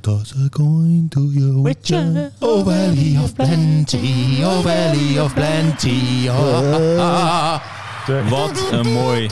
Cause I'm going to your witcher. Oh valley of plenty, oh valley of plenty. Oh, ah, ah, oh. ah. Wat een mooi...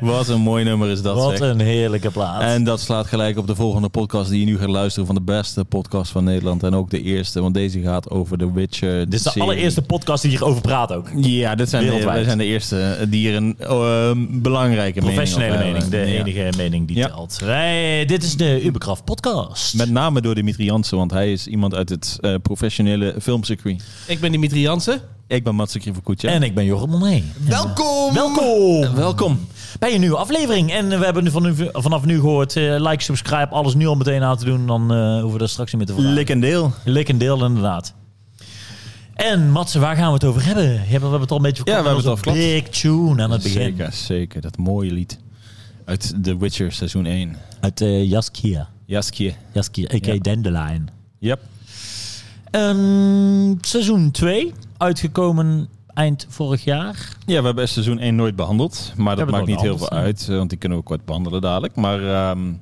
Wat een mooi nummer is dat, Wat zeg. een heerlijke plaat. En dat slaat gelijk op de volgende podcast die je nu gaat luisteren van de beste podcast van Nederland. En ook de eerste, want deze gaat over The Witcher. Dit is de allereerste podcast die hierover praat ook. Ja, dit zijn, de, Wereldwijd. wij zijn de eerste die er een ehm, belangrijke Professionele mening, mening, over de hebben. Ja. enige mening die Ja. telt. Wij, dit is de Uberkraft podcast. Met name door Dimitri Jansen, want hij is iemand uit het eh, professionele filmcircuit. Ik ben Dimitri Jansen. Ik ben Matze Krivokoetje. en ik ben Jorrit Monet. Welkom! Welkom welkom. bij een nieuwe aflevering. En eh, we hebben van nu, vanaf nu gehoord, eh, like, subscribe, alles nu al meteen aan te doen. Dan eh, hoeven we daar straks niet meer te vragen. Lik en deel. Lik en deel, inderdaad. En Matze, waar gaan we het over hebben? Ja, We hebben het al een beetje Ja, we hebben het met onze Big Tune aan het begin. Zeker, zeker. Dat mooie lied uit The Witcher seizoen 1. Uit eh, Jaskia. Jaskie. Jaskia, a.k.a. Ja. Dandelion. Yep. Ehm, seizoen 2, uitgekomen eind vorig jaar. Ja, we hebben seizoen 1 nooit behandeld. Maar dat Hebben maakt we niet het heel veel nooit uit, eh, want die kunnen we kort behandelen dadelijk. Maar ehm,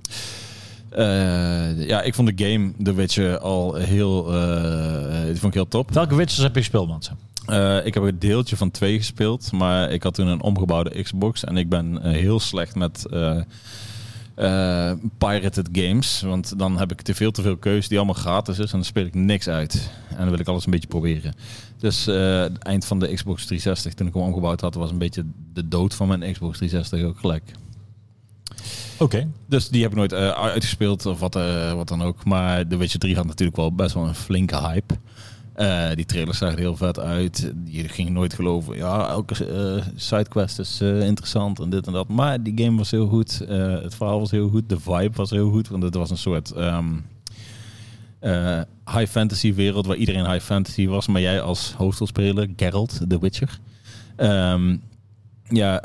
eh, ja, ik vond de game The Witcher al heel, eh, die vond ik heel top. Welke Witchers heb je gespeeld, Matze? Eh, ik heb een deeltje van twee gespeeld, maar ik had toen een omgebouwde Xbox en ik ben eh, heel slecht met eh, eh, pirated games, want dan heb ik te veel te veel keus die allemaal gratis is en dan speel ik niks uit en dan wil ik alles een beetje proberen. Dus eh, het eind van de Xbox 360 toen ik hem omgebouwd had was een beetje de dood van mijn Xbox 360 ook gelijk. Oké. Dus die heb ik nooit eh, uitgespeeld of wat, eh, wat dan ook. Maar The Witcher 3 had natuurlijk wel best wel een flinke hype. Eh, die trailers zagen er heel vet uit. Je ging nooit geloven. Ja, elke eh, sidequest is eh, interessant en dit en dat. Maar die game was heel goed. Eh, het verhaal was heel goed. De vibe was heel goed. Want het was een soort ehm, eh, high fantasy wereld waar iedereen high fantasy was. Maar jij als hoofdrolspeler, Geralt, The Witcher. ehm, ja,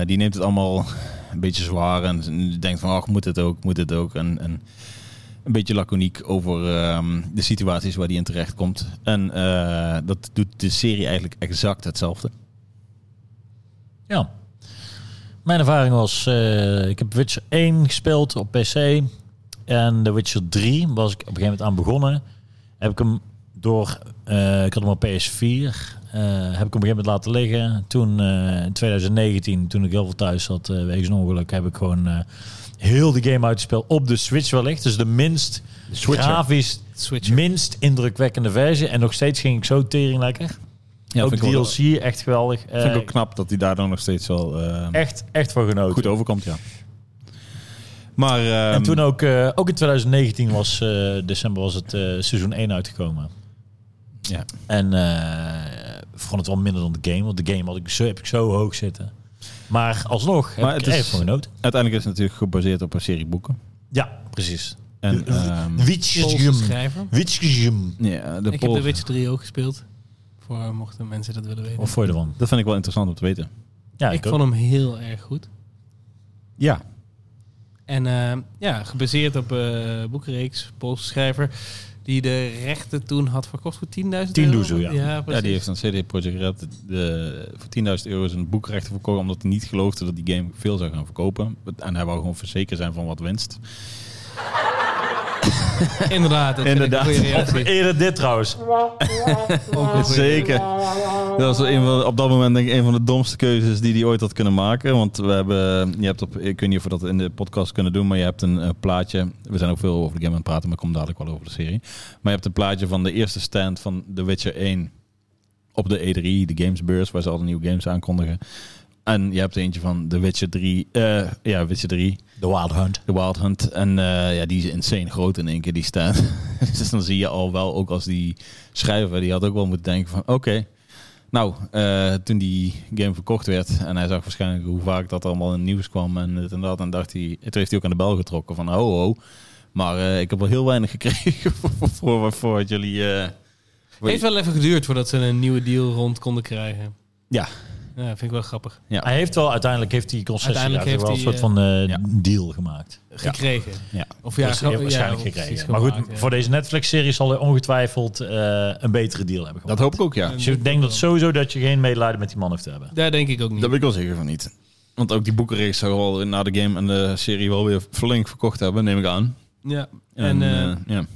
eh, die neemt het allemaal een beetje zwaar en denkt van, ach, moet het ook, moet het ook. En, en een beetje laconiek over ehm, de situaties waar die in terecht komt. En eh, dat doet de serie eigenlijk exact hetzelfde. Ja. Mijn ervaring was, eh, ik heb Witcher 1 gespeeld op PC. En The Witcher 3 was ik op een gegeven moment aan begonnen. Heb ik hem door, eh, ik had hem op PS4, eh, heb ik hem op een gegeven moment laten liggen. Toen, eh, in 2019, toen ik heel veel thuis zat, eh, wegens een ongeluk, heb ik gewoon eh, heel de game uitgespeeld op de Switch wellicht. Dus de minst Switcher. grafisch, Switcher. minst indrukwekkende versie. En nog steeds ging ik zo tering lekker. Ja, ook vind, ik wel, DLC, echt geweldig. Eh, vind ik ook knap dat hij daar dan nog steeds wel eh, echt, echt van genoten. goed overkomt, ja. Maar ehm, En toen ook, eh, ook in 2019 was eh, december was het eh, seizoen 1 uitgekomen. ja. En eh, ik vond het wel minder dan de game, want de game had ik zo, heb ik zo hoog zitten. Maar alsnog heb Maar ik het er is- echt van genoten. uiteindelijk is het natuurlijk gebaseerd op een serie boeken. Ja, precies. En, ehm, Poolse Witchesgum. schrijver. Witchesgum. ja, de ik heb Pool- de Witcher 3 ook gespeeld. Voor mochten mensen dat willen weten. Of voor je ervan? dat vind ik wel interessant om te weten. Ja, ik ook. vond hem heel erg goed. Ja, En eh, ja, gebaseerd op eh boekenreeks, Poolse schrijver, die de rechten toen had verkocht voor 10.000 euro. 10 doezel, ja. Ja, precies. Ja, die heeft een CD Projekt Red de, voor 10.000 euro zijn boekrechten verkocht. Omdat hij niet geloofde dat die game veel zou gaan verkopen. En hij wou gewoon verzekerd zijn van wat winst. Inderdaad, Inderdaad. dat Inderdaad. een goede reactie. Eerder dit trouwens. Ook een goede- Zeker. Dat was een van, op dat moment denk ik een van de domste keuzes die hij ooit had kunnen maken. Want we hebben, je hebt op, ik weet niet of we dat in de podcast kunnen doen, maar je hebt een eh, plaatje. We zijn ook veel over de game aan het praten, maar ik kom dadelijk wel over de serie. Maar je hebt een plaatje van de eerste stand van The Witcher 1 op de E3, de gamesbeurs, waar ze al de nieuwe games aankondigen. En je hebt eentje van The Witcher 3, eh, ja, Witcher 3, The Wild Hunt. The Wild Hunt. En eh, ja, die is insane groot in één keer, die staat. dus dan zie je al wel, ook als die schrijver, die had ook wel moeten denken van... Oké, nou, eh, toen die game verkocht werd... en hij zag waarschijnlijk hoe vaak dat allemaal in het nieuws kwam en dit en dat... en dacht hij, toen heeft hij ook aan de bel getrokken van... Oh, oh, maar eh, ik heb wel heel weinig gekregen voor, voor, voor, voor wat jullie... eh, voor- Heeft wel even geduurd voordat ze een nieuwe deal rond konden krijgen. Ja. Ja, vind ik wel grappig. Hij heeft wel uiteindelijk heeft hij concessie Uiteindelijk uiteindelijk heeft wel heeft een soort van eh, ja. deal gemaakt. Gekregen. Ja. Of ja, Dus gra- heel waarschijnlijk ja, of precies gekregen. Maar goed, gemaakt, ja. voor deze Netflix-serie zal hij ongetwijfeld eh, een betere deal hebben Dat gemaakt. hoop ik ook, ja. Dus ik denk dat sowieso dat je geen medelijden met die man hoeft te hebben. Daar denk ik ook niet. Daar ben ik wel zeker van niet. Want ook die boekenreeks zou wel na de game en de serie wel weer flink verkocht hebben, neem ik aan. Ja. En, En, eh, eh, ja.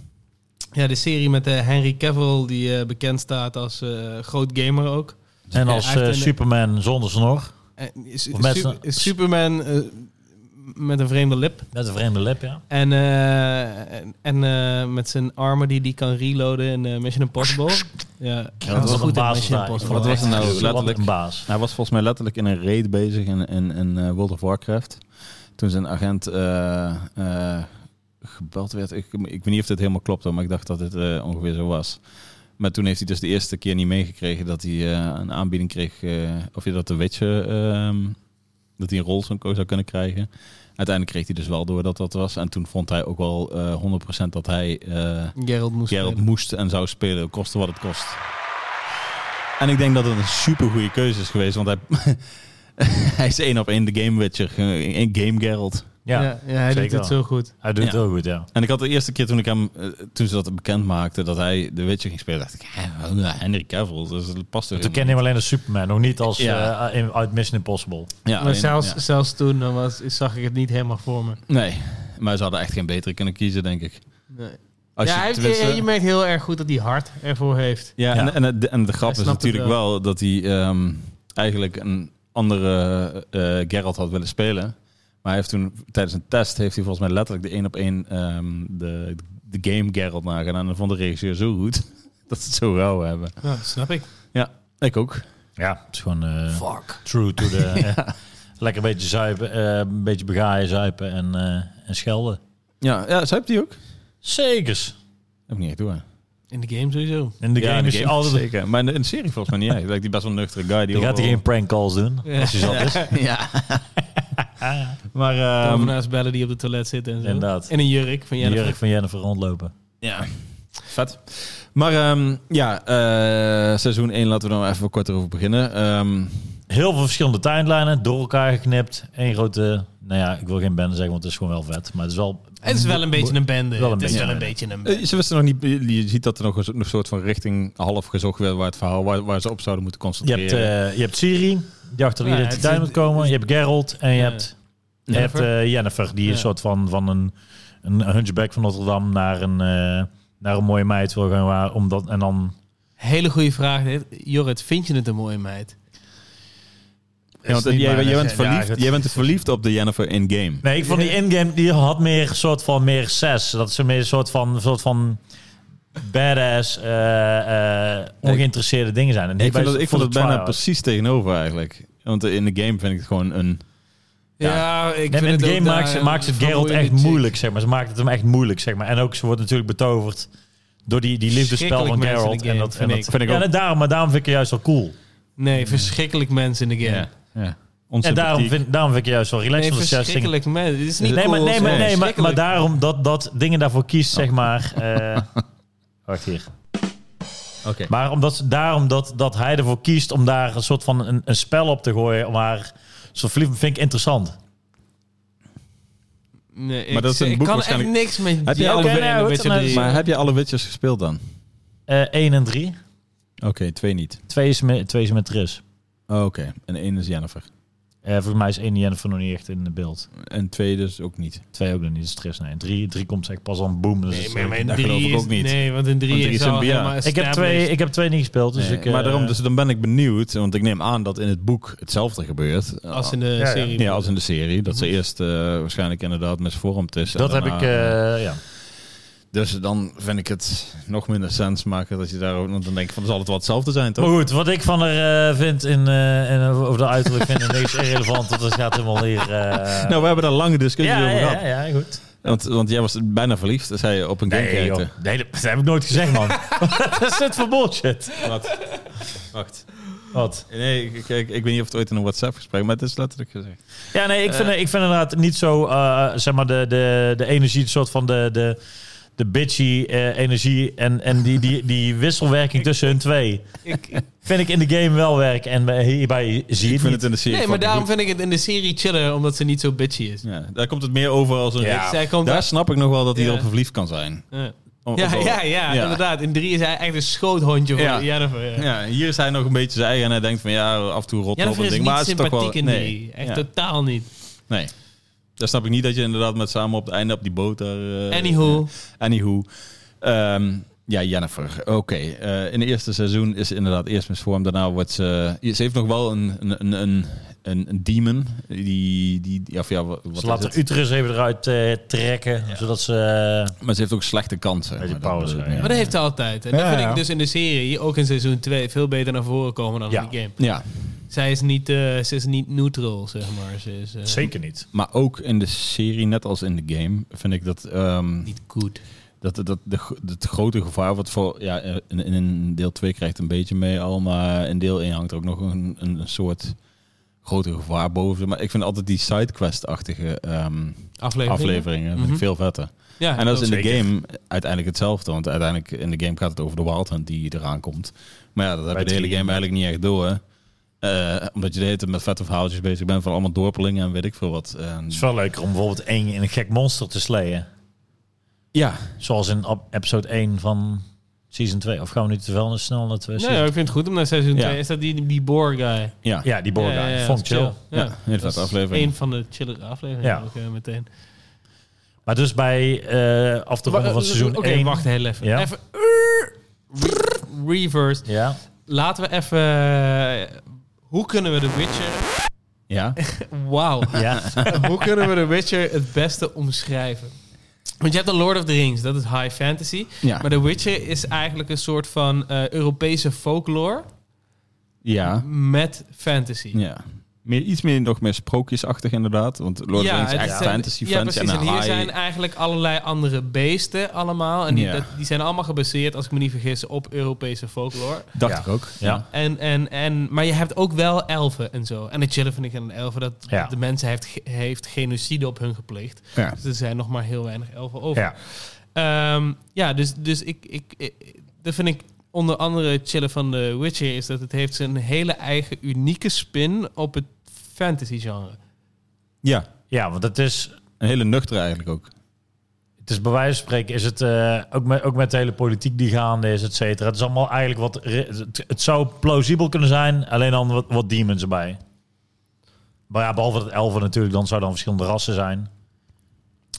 ja, de serie met eh, Henry Cavill, die eh, bekend staat als eh, groot gamer ook. En Ja, als hij eh, heeft een- Superman zonder snor. En is, Of met is- z'n- is Superman eh, met een vreemde lip. Net een vreemde lip, ja. En, eh, en, en, eh, met zijn armen die die kan reloaden in eh, Mission Impossible. Ja, dat was Wat goed een in baas. Mission daar. Impossible. Wat was het nou? Wat Letterlijk. een baas. Hij was volgens mij letterlijk in een raid bezig in, in, in eh, World of Warcraft. Toen zijn agent eh, eh, gebeld werd. Ik, ik weet niet of dit helemaal klopt, hoor, maar ik dacht dat het eh, ongeveer zo was. Maar toen heeft hij dus de eerste keer niet meegekregen dat hij eh, een aanbieding kreeg. eh, of je dat de witje, dat hij een rol zo'n koos zou kunnen krijgen. Uiteindelijk kreeg hij dus wel door dat dat was. En toen vond hij ook wel eh 100% dat hij eh, Geralt moest Gerald spelen. moest en zou spelen, koste wat het kost. En ik denk dat het een super goede keuze is geweest, want hij, hij is één op één de Game Witcher, eh, één Game Gerald. Ja, ja, ja, hij doet zeker. het zo goed. hij doet het Ja. heel goed, ja. En ik had de eerste keer toen ik hem, eh, toen ze dat bekend maakte dat hij de Witcher ging spelen, dacht ik, hè, wel, eh, Henry Cavill, dus dat past er. Toen kennen we alleen als Superman, nog niet als Ja. eh, in- uit Mission Impossible. ja, maar alleen- zelfs, ja. zelfs toen dan was, zag ik het niet helemaal voor me. Nee, maar ze hadden echt geen betere kunnen kiezen, denk ik. Nee. Als ja, je, hij heeft- tenminste- je, je merkt heel erg goed dat hij hard ervoor heeft. Ja, Ja. En, en, de, en de grap Hij is snapt het natuurlijk wel. dat hij ehm, eigenlijk een andere eh Geralt had willen spelen. Maar hij heeft toen tijdens een test heeft hij volgens mij letterlijk de één op één ehm, de, de game Geralt nagedaan. En dat vond de regisseur zo goed dat ze het zo rauw hebben. Ja, dat snap ik. Ik ook. Ja, het is gewoon eh, Fuck. true to the... eh, lekker een beetje zuipen, eh, een beetje begaaien, zuipen en, eh, en schelden. Ja, ja zo hebt hij ook. Zekers. Heb ik niet echt door. In de game sowieso. In de Ja, game in is hij altijd... zeker. Maar in de, in de serie volgens mij niet. echt. Lijkt die best wel een nuchtere guy. Die Dan gaat hij geen overal- prank calls doen. Als hij zat is. Ja. maar ehm, Tovenaars bellen die op het toilet zitten en zo. Inderdaad. In een jurk van Die Jennifer. jurk van Jennifer rondlopen. Ja, vet. Maar ehm, ja, eh, seizoen 1 laten we nou even kort erover beginnen. Ehm, Heel veel verschillende tijdlijnen, door elkaar geknipt. Eén grote... Nou ja, ik wil geen bende zeggen, want het is gewoon wel vet. Maar het is wel... Het is wel een beetje een bende. Wel een het is beetje wel een een bende. beetje een bende. eh, ze wisten nog niet, je ziet dat er nog een, een soort van richting half gezocht werd waar het verhaal, waar, waar ze op zouden moeten Je concentreren. hebt, eh, Nou je hebt Siri, die achter de Ja, identiteit het- moet komen. Je hebt Geralt en je Ja. hebt, je hebt Jennifer. eh, Jennifer. Die Ja. een soort van, van een, een hunchback van Notre Dame naar een, eh, naar een mooie meid wil gaan. Waar, om dat, en dan... Hele goede vraag dit. Jorrit, vind je het een mooie meid? ja, want jij, is niet jij waar, bent dus ja, verliefd, ja, goed. jij bent verliefd op de Jennifer in-game. Nee, ik vond die in-game, die had meer soort van meer zes. Dat ze meer soort van, soort van badass, eh, eh, ongeïnteresseerde dingen zijn. En ik hierbij vond het, ik voor vond de het bijna tryhard. precies tegenover eigenlijk. Want in de game vind ik het gewoon een... Ja, Ja. ik Nee, vind maar in het de ook game maakt daar ze, een maakt ze Geralt echt vermoeiende chick. moeilijk, zeg maar. Ze maakt het hem echt moeilijk, zeg maar. En ook, ze wordt natuurlijk betoverd door die, die liefdespel van Schrikkelijk mensen in Geralt. de En game, dat vind vind, ik. ik. Vind ik ja, ook. en daarom, maar daarom vind ik je juist wel cool. Nee, verschrikkelijk mens in de game. Ja. ja. En daarom vind, daarom vind ik je juist wel relaxed. Nee, omdat ze juist dingen- verschrikkelijk mens. Dit is niet Nee, maar, cool, nee, maar, zeg. nee, maar, maar Verschrikkelijk. daarom dat, dat dingen daarvoor kiest, zeg maar. eh, wacht hier. Oké. Maar omdat, ze- daarom dat, dat hij ervoor kiest om daar een soort van een, een spel op te gooien. Om haar zo verliefd vind ik interessant. Nee, ik, Maar dat is een ik boek kan echt waarschijnlijk. niks met Heb je die alle- andere Nee, en een hoort beetje er nou die- eens- Maar heb je alle Witchers gespeeld dan? Eh 1 en 3. Oké, twee niet. Oh, 2 is, me- twee is met Tris. Oké, en één is Jennifer. Eh volgens mij is één Jennifer nog niet echt in de beeld. En twee dus ook niet. Twee ook nog niet, is stress. Nee, drie, drie komt zeg pas aan boom. Dus Nee, het- maar maar in Dat drie geloof ik is- ook niet. Nee, want in drie, Want drie is is een- al ja. helemaal ik, heb twee, ik heb twee niet gespeeld, dus Nee, ik... eh, maar daarom, dus dan ben ik benieuwd, want ik neem aan dat in het boek hetzelfde gebeurt. Als in de Ja, ja. serie. ja, als in de serie. Dat ze eerst eh, waarschijnlijk inderdaad misvormd is. en Dat heb daarna- ik... eh, ja. Dus dan vind ik het nog minder sens maken dat je daar ook... Want dan denk ik van, zal het wel hetzelfde zijn, toch? Maar goed, wat ik van haar eh, vind in, eh en over de uiterlijk vind, en is irrelevant. Want dat gaat helemaal hier... eh, Nou, we hebben daar lange discussie ja, ja, over gehad. ja, ja, goed. Want, want jij was bijna verliefd, zei je, op een game Nee, joh. nee, dat dat heb ik nooit gezegd, man. Wat is dit voor bullshit? Wacht, wacht. Wat? Nee, ik, ik, ik weet niet of het ooit in een WhatsApp-gesprek... maar het is letterlijk gezegd. Ja, nee, ik vind, ik vind inderdaad niet zo, eh, zeg maar, de, de, de energie, een soort van de, de, de bitchy eh, energie en, en die, die, die wisselwerking tussen hun twee. Ik, Vind ik in de game wel werken en bij- hierbij zie je Ik het vind niet. het in de serie nee, maar fucking daarom goed. vind ik het in de serie chiller, omdat ze niet zo bitchy is. Ja, daar komt het meer over als een... Ja. reeks. Zij komt Daar snap ik nog wel dat hij Ja. erop verliefd kan zijn. Ja. Om- Ja, op- ja, ja, Ja. inderdaad. In drie is hij echt een schoothondje voor Ja. Jennifer. Ja. Ja, hier is hij nog een beetje zijn eigen en hij denkt van ja, af en toe rot op Jennifer een is ding. niet Maar het is toch sympathiek wel... in Nee, die. Echt Ja. totaal niet. nee. Daar snap ik niet dat je inderdaad met samen op het einde op die boot daar... eh, Anywho. Anywho. Ehm, ja, Jennifer. Oké. Eh, in het eerste seizoen is ze inderdaad eerst misvormd. Daarna wordt ze... Ze heeft nog wel een, een, een, een, een, een demon. Die... die ja, of ja, wat wat Ze is laat het? de uterus even eruit eh, trekken, zodat ze... eh, Maar ze heeft ook slechte kansen. Beetje Maar dat- eh, pauze, dat- ja. Maar dat heeft ze altijd. En Ja, dat vind ja. ik dus in de serie, ook in seizoen 2, veel beter naar voren komen dan Ja. in die game. Ja, Zij is niet, eh, ze is niet neutral, zeg maar. Ze is eh, Zeker niet. maar ook in de serie, net als in de game, vind ik dat... ehm, niet goed. Dat, dat, de, gro- het grote gevaar, wat voor ja, in, in deel 2 krijgt een beetje mee al, maar in deel 1 hangt er ook nog een, een, een soort grote gevaar boven. Maar ik vind altijd die sidequest-achtige ehm, Aflevering. afleveringen vind Mhm. ik veel vetter. Ja, en dat is klopt. in de zeker. game uiteindelijk hetzelfde, want uiteindelijk in de game gaat het over de Wild Hunt die eraan komt. Maar ja, dat heb Bij je de hele drie. game eigenlijk niet echt door. hè. Eh, omdat je de hele tijd met vette verhaaltjes bezig bent van allemaal dorpelingen en weet ik veel wat. ehm. En- Het is wel leuker om bijvoorbeeld één in een gek monster te slayen. ja, Zoals in op- episode 1 van season 2. Of gaan we nu te wel snel naar twee Nee, ja, season- ik vind het goed om naar seizoen Ja. 2. Is dat die, die boor guy? ja. Ja, die Borga. Ja, ja, ja, Vond ik dat is chill. chill. Ja, hele dat vette is aflevering. Een van de chillere afleveringen Ja. ook eh, meteen. Maar dus bij eh af te ronden van seizoen Oké, 1... wacht heel even. Ja. Even re- reverse. Ja, Laten we even... eh, Hoe kunnen we The Witcher... Ja? Wauw. ja. Hoe kunnen we The Witcher het beste omschrijven? Want je hebt de Lord of the Rings, dat is high fantasy. Ja. Maar The Witcher is eigenlijk een soort van eh, Europese folklore ja. met fantasy. Ja. Meer, iets meer, nog meer sprookjesachtig inderdaad. Want Lord of the Rings is het echt zijn- fantasy ja, fans. precies. En, en hier high, zijn eigenlijk allerlei andere beesten allemaal. En die, Ja. dat- die zijn allemaal gebaseerd, als ik me niet vergis, op Europese folklore. dacht Ja. ik ook. Ja. En, en, en, maar je hebt ook wel elfen en zo. En het chillen vind ik aan de elfen, dat Ja. de mensen heeft, ge- heeft genocide op hun gepleegd. Ja. Dus er zijn nog maar heel weinig elfen over. ja. Ehm, ja, dus, dus ik, ik, ik- dat vind ik onder andere chillen van The Witcher is dat het heeft zijn hele eigen unieke spin op het fantasy genre. Ja, ja, want het is... Een hele nuchtere eigenlijk ook. Het is bij wijze van spreken, is het eh, ook, met, ook met de hele politiek die gaande is, et cetera. Het is allemaal eigenlijk wat. re- Het, het zou plausibel kunnen zijn, alleen dan wat, wat demons erbij. Maar ja, behalve dat elfen natuurlijk, dan zou dan verschillende rassen zijn.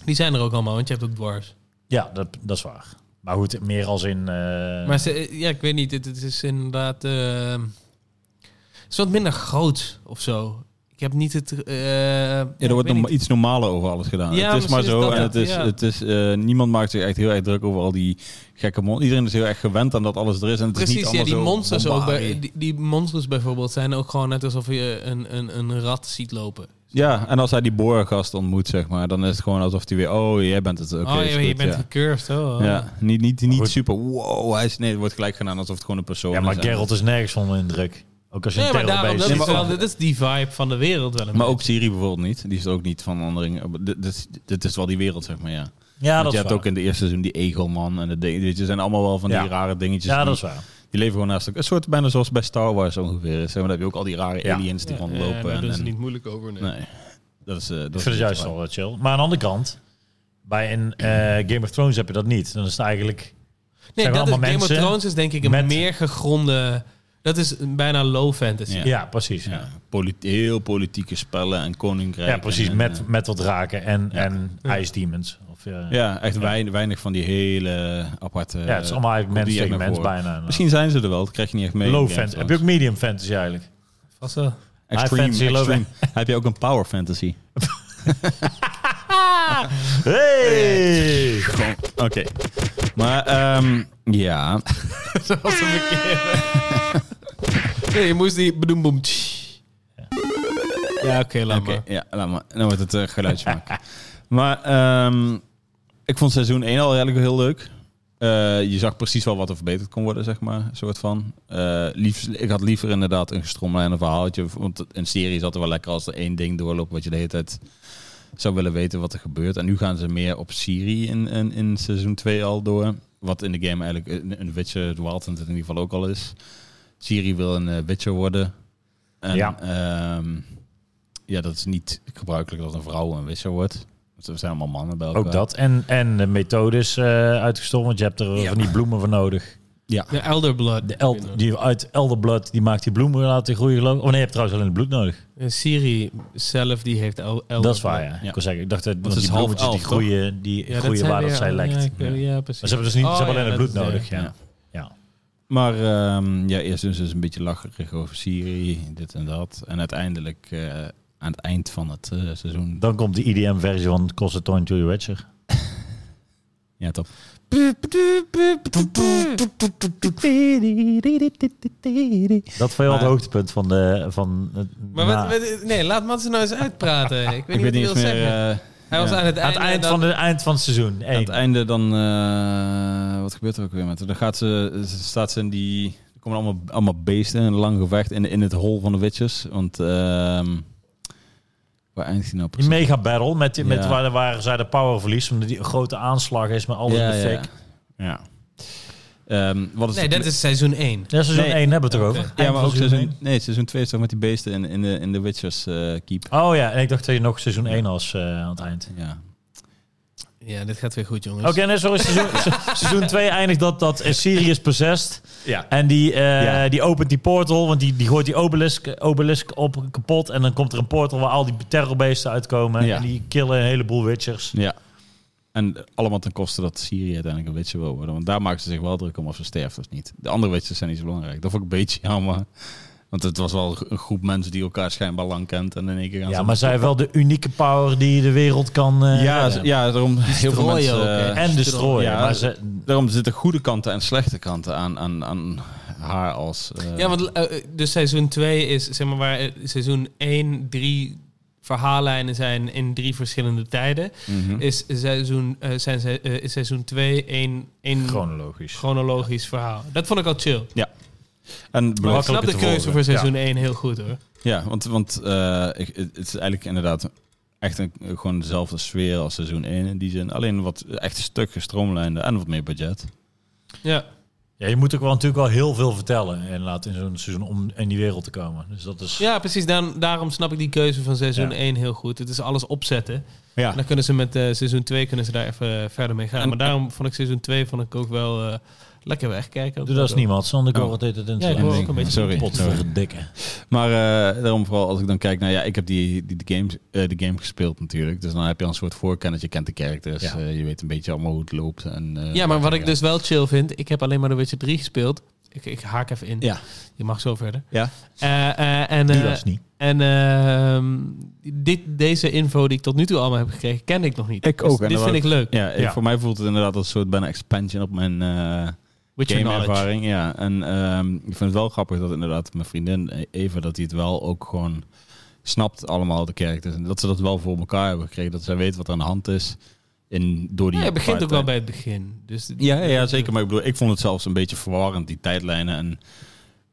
Die zijn er ook allemaal, want je hebt ook dwarves. Ja, dat, dat is waar. Maar goed, meer als in. eh, Maar ze, ja, ik weet niet, het, het is inderdaad... ehm, het is wat minder groot of zo. Ik heb niet het... eh, Ja, ik er weet wordt nog niet. maar iets normaler over alles gedaan. Ja, het is maar misschien zo. is dat en het, het is, ja. het is, eh, niemand maakt zich echt heel erg druk over al die gekke mon. Iedereen is heel erg gewend aan dat alles er is. En het is niet Precies, ja, allemaal die zo monsters, ook bombardie. bij, die, die monsters bijvoorbeeld zijn ook gewoon net alsof je een, een, een rat ziet lopen. Ja, en als hij die boorgast ontmoet, zeg maar, dan is het gewoon alsof hij weer... Oh, jij bent het. Oké, oh, is je, goed, je bent ja. gecurved, oh. Ja, niet, niet, niet Goed. super. Wow, hij is, nee, het wordt gelijk gedaan alsof het gewoon een persoon ja, maar is. En- Geralt is nergens onder indruk. Ook als je Nee, een maar terror daarom, dat is, maar ook- wel, dat is die vibe van de wereld wel een Maar ook beetje. Siri bijvoorbeeld niet. Die is er ook niet van verandering. Dit, dit, dit is wel die wereld, zeg maar, ja. Ja, Want dat je is hebt waar. ook in de eerste seizoen die Egelman en de dingetjes. zijn allemaal wel van Ja. die rare dingetjes. ja, die, dat is waar. die leven gewoon naast elkaar. Een soort bijna zoals bij Star Wars ongeveer. is, Zeg maar, dan heb je ook al die rare Ja. aliens die Ja, rondlopen. ja, daar en, doen ze en- niet moeilijk over, nee. Nee, dat is... eh, dat Ik vind is het juist waar. al wel chill. Maar aan de andere kant, bij een eh, Game of Thrones heb je dat niet. Dan is het eigenlijk. Nee, Zijn we dat is, allemaal Game of mensen Thrones is denk ik een met- meer gegronde... Dat is een bijna low fantasy. Ja. Ja, precies. Ja, polit- heel politieke spellen en koninkrijk. Ja, precies. en- en, met, eh, met wat raken en, Ja. en Ice Demons. Of, eh, ja. eh, ja, echt wein- weinig van die hele aparte... het is allemaal eigenlijk mens die tegen naar mens voren. bijna. Nou. Misschien zijn ze er wel, dat krijg je niet echt mee. in Low Game of fantasy. Heb Thrones. je ook medium fantasy eigenlijk? Vast wel. Extreme, High fantasy, low extreme. Heb je ook een power fantasy? Hey! Oké. Maar ehm, ja, Zoals een verkeerde. nee, je moest die bedoem boem. tsch. Ja, oké, laat oké, maar. ja, laat maar. Dan wordt het eh, geluidje maken. Maar ehm, ik vond seizoen 1 al eigenlijk heel leuk. Eh, je zag precies wel wat er verbeterd kon worden, zeg maar. Een soort van. Eh, liefst, ik had liever inderdaad een gestroomlijnd verhaaltje. Want een serie zat er wel lekker als er één ding doorloopt... wat je de hele tijd zou willen weten wat er gebeurt. En nu gaan ze meer op Siri in, in, in seizoen 2 al door. Wat in de game eigenlijk een, een Witcher, het Wild Hunt het in ieder geval ook al is. Siri wil een eh, Witcher worden. En, ehm, Ja. ja. ja, dat is niet gebruikelijk dat een vrouw een Witcher wordt. We zijn allemaal mannen bij elkaar. Ook dat. En, en de methodes eh uitgestorven, want je hebt er eh, Ja. van die bloemen voor nodig. De elderblood. De el, die uit elderbloed, die maakt die bloemen laten groeien geloof ik. Oh nee, je hebt trouwens alleen het bloed nodig. Eh, Siri zelf, die heeft el elderbloed. dat is waar, ja. Ja. Ik, wil zeggen, ik dacht dat want het die is half bloemetjes die elf, toch? groeien, die Ja, groeien zijn waar dat weer- zij ja, lijkt. ik- Maar Ja, precies. ze hebben dus niet, Oh, ze hebben alleen ja, het dat bloed is, eh, nodig, ja. ja. ja. Maar ehm, ja, eerst dus een beetje lacherig over Syrië, dit en dat. En uiteindelijk, eh, aan het eind van het eh, seizoen... Dan komt de E EDM-versie van Constantine Julie Wetcher. Ja, top. Dat was wel het Maar- hoogtepunt van de... Van, het- Maar na- wat, wat- nee, laat Mats nou eens uitpraten. Ik weet Ik niet weet wat niet hij eens wil meer... zeggen. eh, Hij was ja. aan het aan einde. het eind en van, dan- de, eind van het seizoen. Aan één. het einde dan... eh, wat gebeurt er ook weer met haar? Dan gaat ze, ze staat ze in die... Er komen allemaal, allemaal beesten in een lang gevecht in, in het hol van de witches. Want... ehm, waar eindigt hij nou Die precies? mega battle met, die- met Ja. waar, waar zij de power verliest, omdat die een grote aanslag is met alles in de fik. Ja. ja. Ehm, wat is Nee, dat is seizoen 1. Dat is seizoen Nee. 1, hebben we het erover. Ja, Eind maar van ook seizoen, nee, seizoen 2 is toch met die beesten in, in, de, in de Witchers eh, keep. één. Oh ja, en ik dacht dat je nog seizoen 1 was eh, aan het eind. Ja. Ja, dit gaat weer goed, jongens. Dus- Oké, nee, sorry. Seizoen, se- seizoen 2 eindigt dat, dat eh, Sirius possessed. Ja. En die, eh, Ja. die opent die portal, want die, die gooit die obelisk, obelisk op kapot. En dan komt er een portal waar al die terrorbeesten uitkomen. Ja. En die killen een heleboel witchers. ja. En allemaal ten koste dat Syrië uiteindelijk een witcher wil worden. Want daar maken ze zich wel druk om of ze sterft of niet. De andere witchers zijn niet zo belangrijk. Dat vond ik een beetje jammer. Want het was wel een groep mensen die elkaar schijnbaar lang kent. En in één keer gaan Ja, ze... maar zij hebben wel de unieke power die de wereld kan... eh, ja, redden. ze- ja, daarom heel veel strooien mensen... ook, hè. eh, En destroyen. Ja, maar ze, daarom zitten goede kanten en slechte kanten aan, aan, aan haar als... eh, Ja, want eh, eh, dus seizoen 2 is, zeg maar, waar eh, seizoen 1 drie verhaallijnen zijn in drie verschillende tijden. mhm. Is seizoen, eh, zijn, se- eh, is seizoen 2 één, één chronologisch. chronologisch verhaal. Dat vond ik al chill. En Maar ik Makkelijker snap de te keuze volgen. voor seizoen 1 heel goed, hoor. Ja, want, want eh, ik, het het is eigenlijk inderdaad echt een, gewoon dezelfde sfeer als seizoen 1 in die zin. Alleen wat echt een stuk gestroomlijnde en wat meer budget. Ja. Ja, je moet ook wel natuurlijk wel heel veel vertellen en laten in zo'n seizoen om in die wereld te komen. Dus dat is Ja, precies. Dan, daarom snap ik die keuze van seizoen Ja. 1 heel goed. Het is alles opzetten. Ja. En dan kunnen ze met eh, seizoen 2 kunnen ze daar even eh, verder mee gaan. En- maar daarom vond ik seizoen 2 vond ik ook wel eh, lekker wegkijken. Ook doe dat is wel- niemand, zonder ik Oh. hoor het deed het in Ja, ik hoor ook een beetje Sorry. sorry. Potverdikke. Maar eh, daarom vooral als ik dan kijk naar... Ja, ik heb die, die, de, games, eh, de game gespeeld natuurlijk. Dus dan heb je al een soort voorkennis. Je kent de characters. Ja. eh, je weet een beetje allemaal hoe het loopt. En, eh, Ja, maar wat ik ja. dus wel chill vind, ik heb alleen maar The Witcher 3 gespeeld. Ik, ik haak even in. Ja. Je mag zo verder. Ja. Eh, eh, en Die eh, was niet. en ehm, dit, deze info die ik tot nu toe allemaal heb gekregen, ken ik nog niet. Dus Ik ook, en dit dat vind ik leuk. Ja, ik- Ja. voor mij voelt het inderdaad als een soort bijna expansion op mijn... eh, Witcher knowledge. game-ervaring. Ja, en ehm, ik vind het wel grappig dat inderdaad mijn vriendin eh, Eva, dat die het wel ook gewoon snapt allemaal de characters. En dat ze dat wel voor elkaar hebben gekregen. Dat zij weet wat er aan de hand is. In, door die Ja, het begint ook wel fight. bij het begin. Dus Ja, ja, ja, zeker. Maar ik bedoel, ik vond het zelfs een beetje verwarrend, die tijdlijnen. En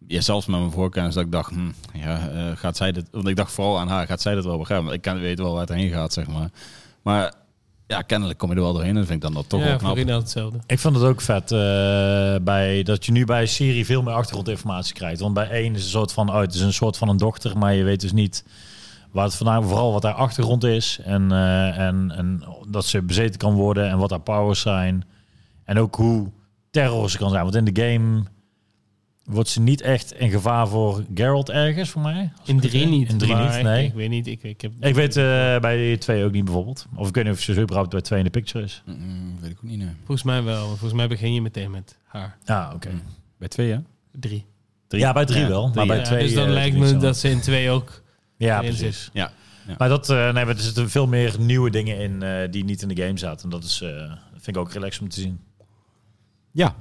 ja, zelfs met mijn voorkennis dat ik dacht, hm, ja, eh, gaat zij dit... Want ik dacht vooral aan haar, gaat zij dat wel begrijpen? Want ik kan, weet wel waar het heen gaat, zeg maar. Maar ja, kennelijk kom je er wel doorheen. En dat vind ik dan dat toch ja, wel voor knap. Rina hetzelfde. Ik vond het ook vet eh, bij, dat je nu bij Siri veel meer achtergrondinformatie krijgt. Want bij één is een soort van, oh, het is een soort van een dochter, maar je weet dus niet waar het vandaan, vooral wat haar achtergrond is. En, eh, en, en dat ze bezeten kan worden en wat haar powers zijn. En ook hoe terror ze kan zijn. Want in de game wordt ze niet echt een gevaar voor Geralt ergens, voor mij. Als In ik het drie weet. niet. In drie maar niet, ik- nee. Ik, weet niet. Ik, ik heb, Ik weet eh, bij die twee ook niet bijvoorbeeld. Of ik weet niet of ze überhaupt bij twee in de picture is. Mm, weet ik ook niet, nee. volgens mij wel. want Volgens mij begin je meteen met haar. Ja, Ah, oké. Bij twee, hè? Drie. Ja, bij drie Ja, wel. Maar drie, bij Ja, twee, dus dan eh, lijkt niet me zo. dat ze in twee ook... Ja, erin precies. zit. Ja, ja. Maar dat, eh, nee, maar er zitten veel meer nieuwe dingen in eh, die niet in de game zaten. En dat is, eh, dat vind ik ook relaxed om te zien. Ja.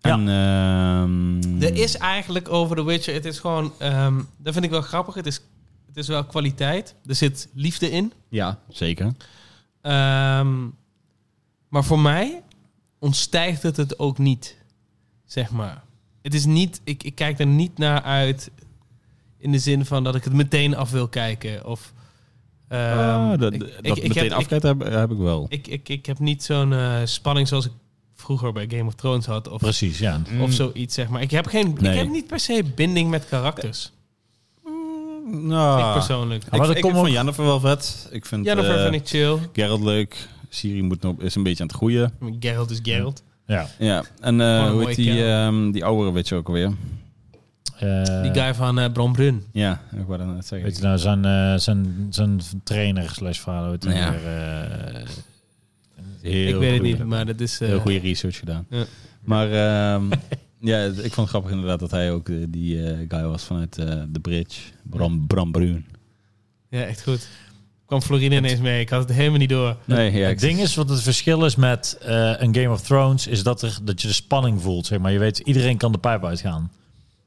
En, ehm, Er is eigenlijk over The Witcher, het is gewoon, ehm, dat vind ik wel grappig. Het is, het is wel kwaliteit. Er zit liefde in. Ja, zeker. Ah, Ehm, maar voor mij ontstijgt het het ook niet, zeg maar. Het is niet, ik, ik kijk er niet naar uit in de zin van dat ik het meteen af wil kijken. Of, ehm, Ah, dat ik- dat ik- ik heb- meteen ik- afkijkt heb, heb ik wel. Ik, ik, ik heb niet zo'n eh, spanning zoals ik vroeger bij Game of Thrones had. Of, Precies, ja. Mm. of zoiets, zeg maar. Ik heb, geen, Nee. ik heb niet per se binding met karakters. Nou, Ik persoonlijk. Ja, maar ik, dat ik komt vind ook- Jennifer wel vet. Ik vind Jennifer eh, vind ik chill. Geralt leuk. Siri moet nog, is een beetje aan het groeien. Geralt is Geralt. Ja. Ja, en eh, een hoe mooie heet die, kerel. ehm die oudere weet je ook alweer? Eh, Die guy van eh Bronbrun. Ja, ik wou dat net zeggen. Weet je nou, zijn, eh, zijn, zijn trainer slash vader weet je Ja. weer, eh, Heel ik weet goeie- het niet, maar dat is... eh, Heel goede research gedaan. Ja. Maar ehm, ja, ik vond het grappig inderdaad dat hij ook eh, die eh, guy was vanuit eh The Bridge. Bram, Bram Bruun. Ja, echt goed. Kwam Florine ineens mee. Ik had het helemaal niet door. Nee, ja, het ding is, wat het verschil is met eh, een Game of Thrones, is dat, er, dat je de spanning voelt. Zeg maar. Je weet, iedereen kan de pijp uitgaan.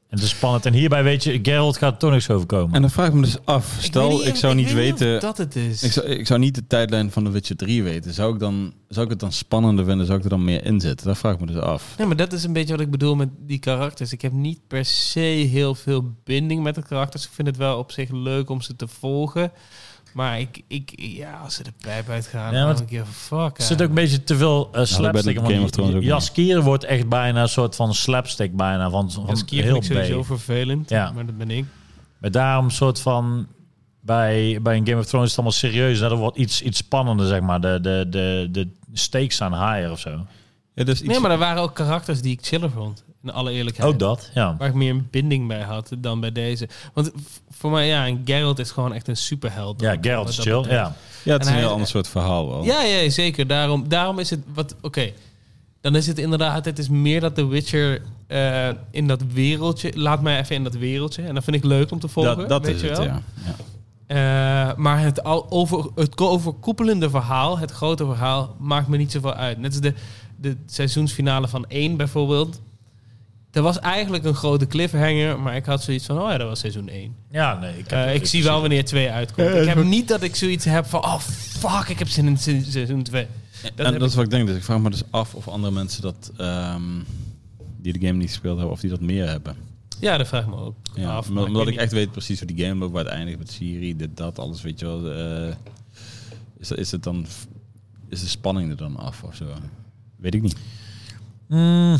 En het is spannend. En hierbij weet je, Geralt gaat toch niks overkomen. En dan vraag ik me dus af. Stel, weet ik, zou niet weet of weten... dat het is. Ik zou, ik zou niet de tijdlijn van The Witcher 3 weten. Zou ik, dan, zou ik het dan spannender vinden? Zou ik er dan meer in zitten? Dat vraag ik me dus af. Nee, maar dat is een beetje wat ik bedoel met die karakters. Ik heb niet per se heel veel binding met de karakters. Ik vind het wel op zich leuk om ze te volgen. Maar ik, ik ja, als ze de pijp uitgaan, Ja, dan want- denk ik even fuck. Er zit ook een beetje te veel eh, slapstick. bij de Game of Want Thrones ook Jaskier wordt echt bijna een soort van slapstick bijna. Van, van dat vind heel ik sowieso B. vervelend. Ja. Maar dat ben ik. Maar daarom een soort van... Bij, bij een Game of Thrones is het allemaal serieus. Nou, Dat wordt iets, iets spannender, zeg maar. De, de, de, de stakes zijn higher of zo. Ja, dus iets, Nee, maar er waren ook karakters die ik chiller vond. In alle eerlijkheid. Ook dat, ja. Waar ik meer een binding bij had dan bij deze. Want v- voor mij, ja, en Geralt is gewoon echt een superheld. Ja, Wat Geralt is dat chill. betreft. Ja. ja het en is een hij- heel ander soort verhaal wel. Ja, ja, zeker. Daarom, daarom is het wat. Oké. Dan is het inderdaad. Het is meer dat The Witcher eh, in dat wereldje. Laat mij even in dat wereldje. En dat vind ik leuk om te volgen. dat dat weet is je het, wel. ja. ja. Eh, maar het, al over, het ko- overkoepelende verhaal, het grote verhaal, maakt me niet zoveel uit. Net als de, de seizoensfinale van 1 bijvoorbeeld. Er was eigenlijk een grote cliffhanger, maar ik had zoiets van, oh ja, dat was seizoen 1. ja, nee. Ik, heb- Eh, ik zie wel wanneer 2 uitkomt. Ja, Ik heb dat- niet dat ik zoiets heb van, oh fuck, ik heb zin in se- seizoen 2. en heb dat is wat ik denk. Dus ik vraag me dus af of andere mensen dat... ehm, die de game niet gespeeld hebben, of die dat meer hebben. Ja, dat vraag ik me ook Ja, af. omdat maar omdat ik, weet echt weet precies hoe die game loopt, waar het eindigt met Siri, dit, dat, alles, weet je wel. eh, is, dat- is het dan... Is de spanning er dan af of zo? Weet ik niet. Mm,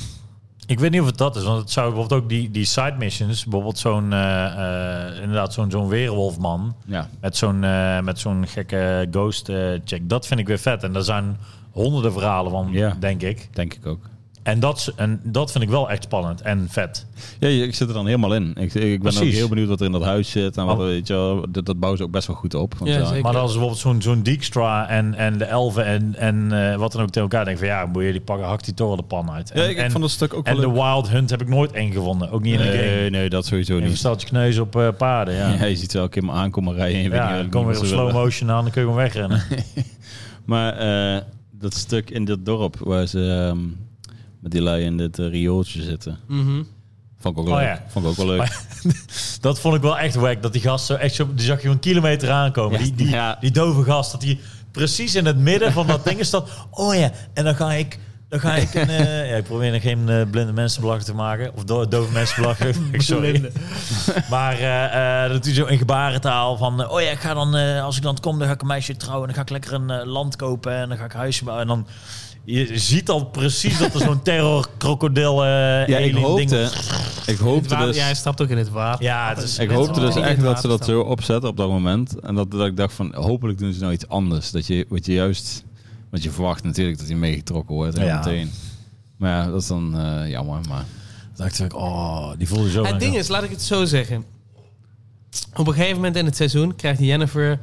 ik weet niet of het dat is, want het zou bijvoorbeeld ook die, die side missions, bijvoorbeeld zo'n eh, eh, inderdaad zo'n zo'n weerwolfman Ja. met zo'n eh, met zo'n gekke ghost eh, check, dat vind ik weer vet. En daar zijn honderden verhalen van, Ja. denk ik. Denk ik ook. En dat, is- en dat vind ik wel echt spannend en vet. Ja, je- ik zit er dan helemaal in. Ik, ik ben ook Precies. heel benieuwd wat er in dat huis zit. En wat, Oh. weet je wel, dat, dat bouwen ze ook best wel goed op. Want Ja, ja, zeker. Maar dan is bijvoorbeeld zo'n zo'n Dijkstra en, en de elfen en, en eh, wat dan ook tegen elkaar denken van ja, moet je die pakken, hakt die toch wel de pan uit. En, Ja, ik, ik en, vond dat stuk ook en wel de leuk. Wild Hunt heb ik nooit eng gevonden, ook niet in de game. Nee, nee, dat sowieso Even een niet. steltje kneus op eh, paarden, ja. Ja, je ziet wel een keer me aankomen rijden. en je weet niet Ja, wat- dan kom je wat weer op ze slow willen. motion aan, dan kun je gewoon wegrennen. Maar eh, dat stuk in dat dorp waar ze ehm, met die lui in dit eh, riooltje zitten. ik- Mhm. Vond ik ook Oh, leuk. ja. Vond ik ook wel leuk. dat vond ik wel echt wack, dat die gast zo echt zo, die zag je een kilometer aankomen. Ja. Die, die, Ja. die dove gast, dat hij precies in het midden van dat ding stond. Oh ja, en dan ga ik, dan ga ik een, eh, ja, ik probeer nog geen eh, blinde mensen belachelijk te maken, of do- dove mensen belachelijk, sorry. Maar eh, eh, dat hij zo in gebarentaal van, eh, oh ja, ik ga dan, eh, als ik dan kom, dan ga ik een meisje trouwen, en dan ga ik lekker een eh, land kopen en dan ga ik huizen bouwen en dan... Je ziet al precies dat er zo'n terrorkrokodil eh Ja, ik alien ding hoopte, ik Het hoopte water- dus... Ja, hij stapt ook in het water. Ja, het Ik is- Mensen hoopte dus die in echt het dat ze water dat zo opzetten op dat moment. En dat, dat ik dacht van, hopelijk doen ze nou iets anders. Dat je, wat je juist... Want je verwacht natuurlijk dat hij meegetrokken wordt. en Ja. meteen. Maar ja, dat is dan eh, jammer. Maar dacht ik, oh, die voelde zo. Het ding is, laat ik het zo zeggen. Op een gegeven moment in het seizoen krijgt Jennifer...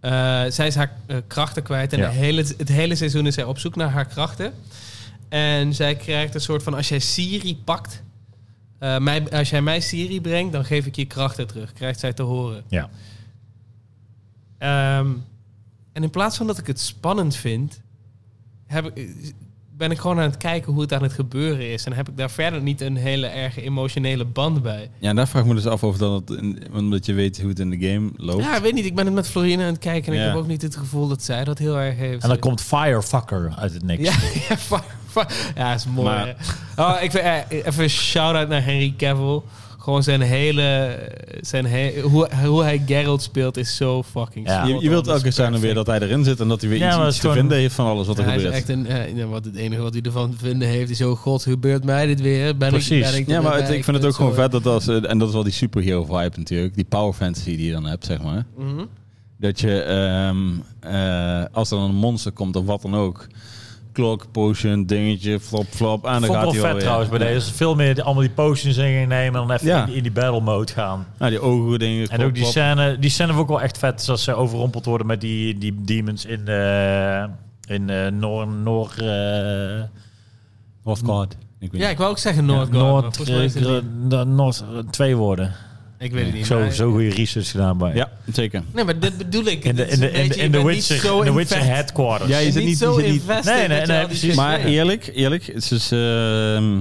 eh, zij is haar eh, krachten kwijt. En Ja. de hele, het hele seizoen is zij op zoek naar haar krachten. En zij krijgt een soort van... Als jij Siri pakt... eh, mij, als jij mij Siri brengt, dan geef ik je krachten terug. Krijgt zij te horen. Ja. Ehm, en in plaats van dat ik het spannend vind... Heb ik, ben ik gewoon aan het kijken hoe het aan het gebeuren is. En heb ik daar verder niet een hele erge emotionele band bij. ja, daar vraag ik me dus af of dat... het in- omdat je weet hoe het in de game loopt. Ja, ik weet niet. Ik ben het met Florine aan het kijken. En Ja. ik heb ook niet het gevoel dat zij dat heel erg heeft. En dan komt Firefucker uit het niks. Ja, ja, fa- fa- ja, is mooi. Maar- hè. Oh, ik vind, eh, even een shout-out naar Henry Cavill. Gewoon zijn hele... Zijn he- hoe, hoe hij Geralt speelt is zo fucking Ja. Je, je wilt elke keer zijn dan dan weer dat hij erin zit en dat hij weer Ja, iets, maar iets het is te gewoon- vinden heeft van alles wat er hij is gebeurt. echt een, eh, ja, wat het enige wat hij ervan te vinden heeft is... Oh god, gebeurt mij dit weer? Ben Ik, Precies. ben ik Ja, er maar weer het- bij? ik vind het dus ook gewoon zo- vet dat als, eh, en dat is wel die superhero vibe natuurlijk, die power fantasy die je dan hebt, zeg maar. Mhm. Dat je, ehm, eh, als er dan een monster komt of wat dan ook, clock, potion, dingetje, flop, flop, en dan Vond ik gaat wel hij wel vet weer. trouwens bij deze. Veel meer die- allemaal die potions in gaan nemen en dan even Ja. in, die, in die battle mode gaan. Nou, die ogen dingen, En ook die scène, die scène vond ik wel echt vet. Zoals ze overrompeld worden met die, die demons in, eh in eh Noor... Noor eh, Of God. Ik weet Ja, niet. ik wou ook zeggen Noord. Noord, eh, Gr- Noord, eh, twee woorden. Ik weet het niet. Zo, maar- zo goede research gedaan bij. ja, zeker. Nee, maar dit bedoel ik. In de, Dit is in de, een in de, beetje- in de je bent niet Witcher, zo in de Witcher invested. headquarters. Ja, Je je zit zit niet niet- zo je zit niet- invested Nee, nee, dat je nee, al die precies. shit Maar weet. eerlijk, eerlijk, het is, ehm,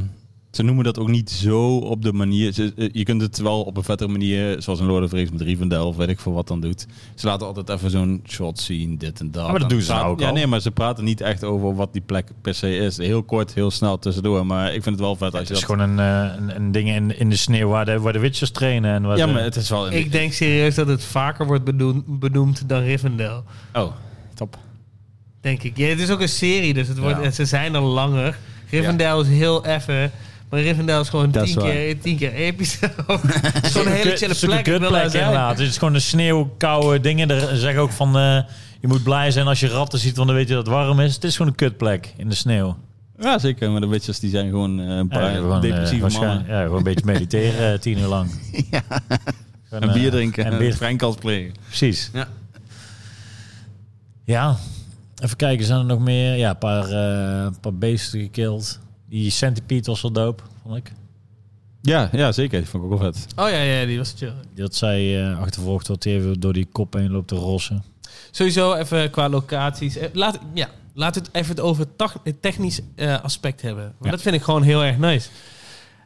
ze noemen dat ook niet zo op de manier. ze- eh, je kunt het wel op een vettere manier, zoals een Lord of the Rings met Rivendell of weet ik veel wat dan doet. Ze laten altijd even zo'n shot zien, dit en dat. maar dat Dan doen ze nou praten- ook Ja, al. nee, maar ze praten niet echt over wat die plek per se is. Heel kort, heel snel tussendoor, maar ik vind het wel vet als Het je is dat... gewoon een, eh, een, een ding in, in de sneeuw waar de, waar de Witchers trainen. En waar Ja, de- maar het is wel... Ik denk serieus dat het vaker wordt bedoemd, benoemd dan Rivendell. Oh, top. Denk ik. Ja, het is ook een serie, dus het wordt, Ja. ze zijn er langer. Rivendell is heel effen. Maar Rivendell is gewoon Dat is tien waar. keer, tien keer episch. ook. Het is gewoon een hele Kut- chille stukken plek. Ik wil daar kutplek zijn. inderdaad. Het is gewoon de sneeuw, koude dingen. Er zeggen ook van, eh, je moet blij zijn als je ratten ziet, want dan weet je dat het warm is. Het is gewoon een kutplek in de sneeuw. Ja, zeker, maar de witches die zijn gewoon eh, een Ja, paar gewoon, eh, depressieve waarschijnlijk- mannen. Ja, gewoon een beetje mediteren eh, tien uur lang. Gewoon, En eh, bier drinken en, En en bier, Frenkels plegen. precies. Ja. Ja, even kijken, zijn er nog meer? Ja, een paar, eh, een paar beesten gekild. Die centipede was wel dope, vond ik. Ja, ja, zeker. Die vond ik ook wel vet. Oh ja, ja, die was chill. Dat zij eh, achtervolgd wordt, die even door die kop heen loopt te rossen. Sowieso even qua locaties. Eh, Laat, ja, laat het even het over tach- het technisch eh, aspect hebben. Want Ja. dat vind ik gewoon heel erg nice.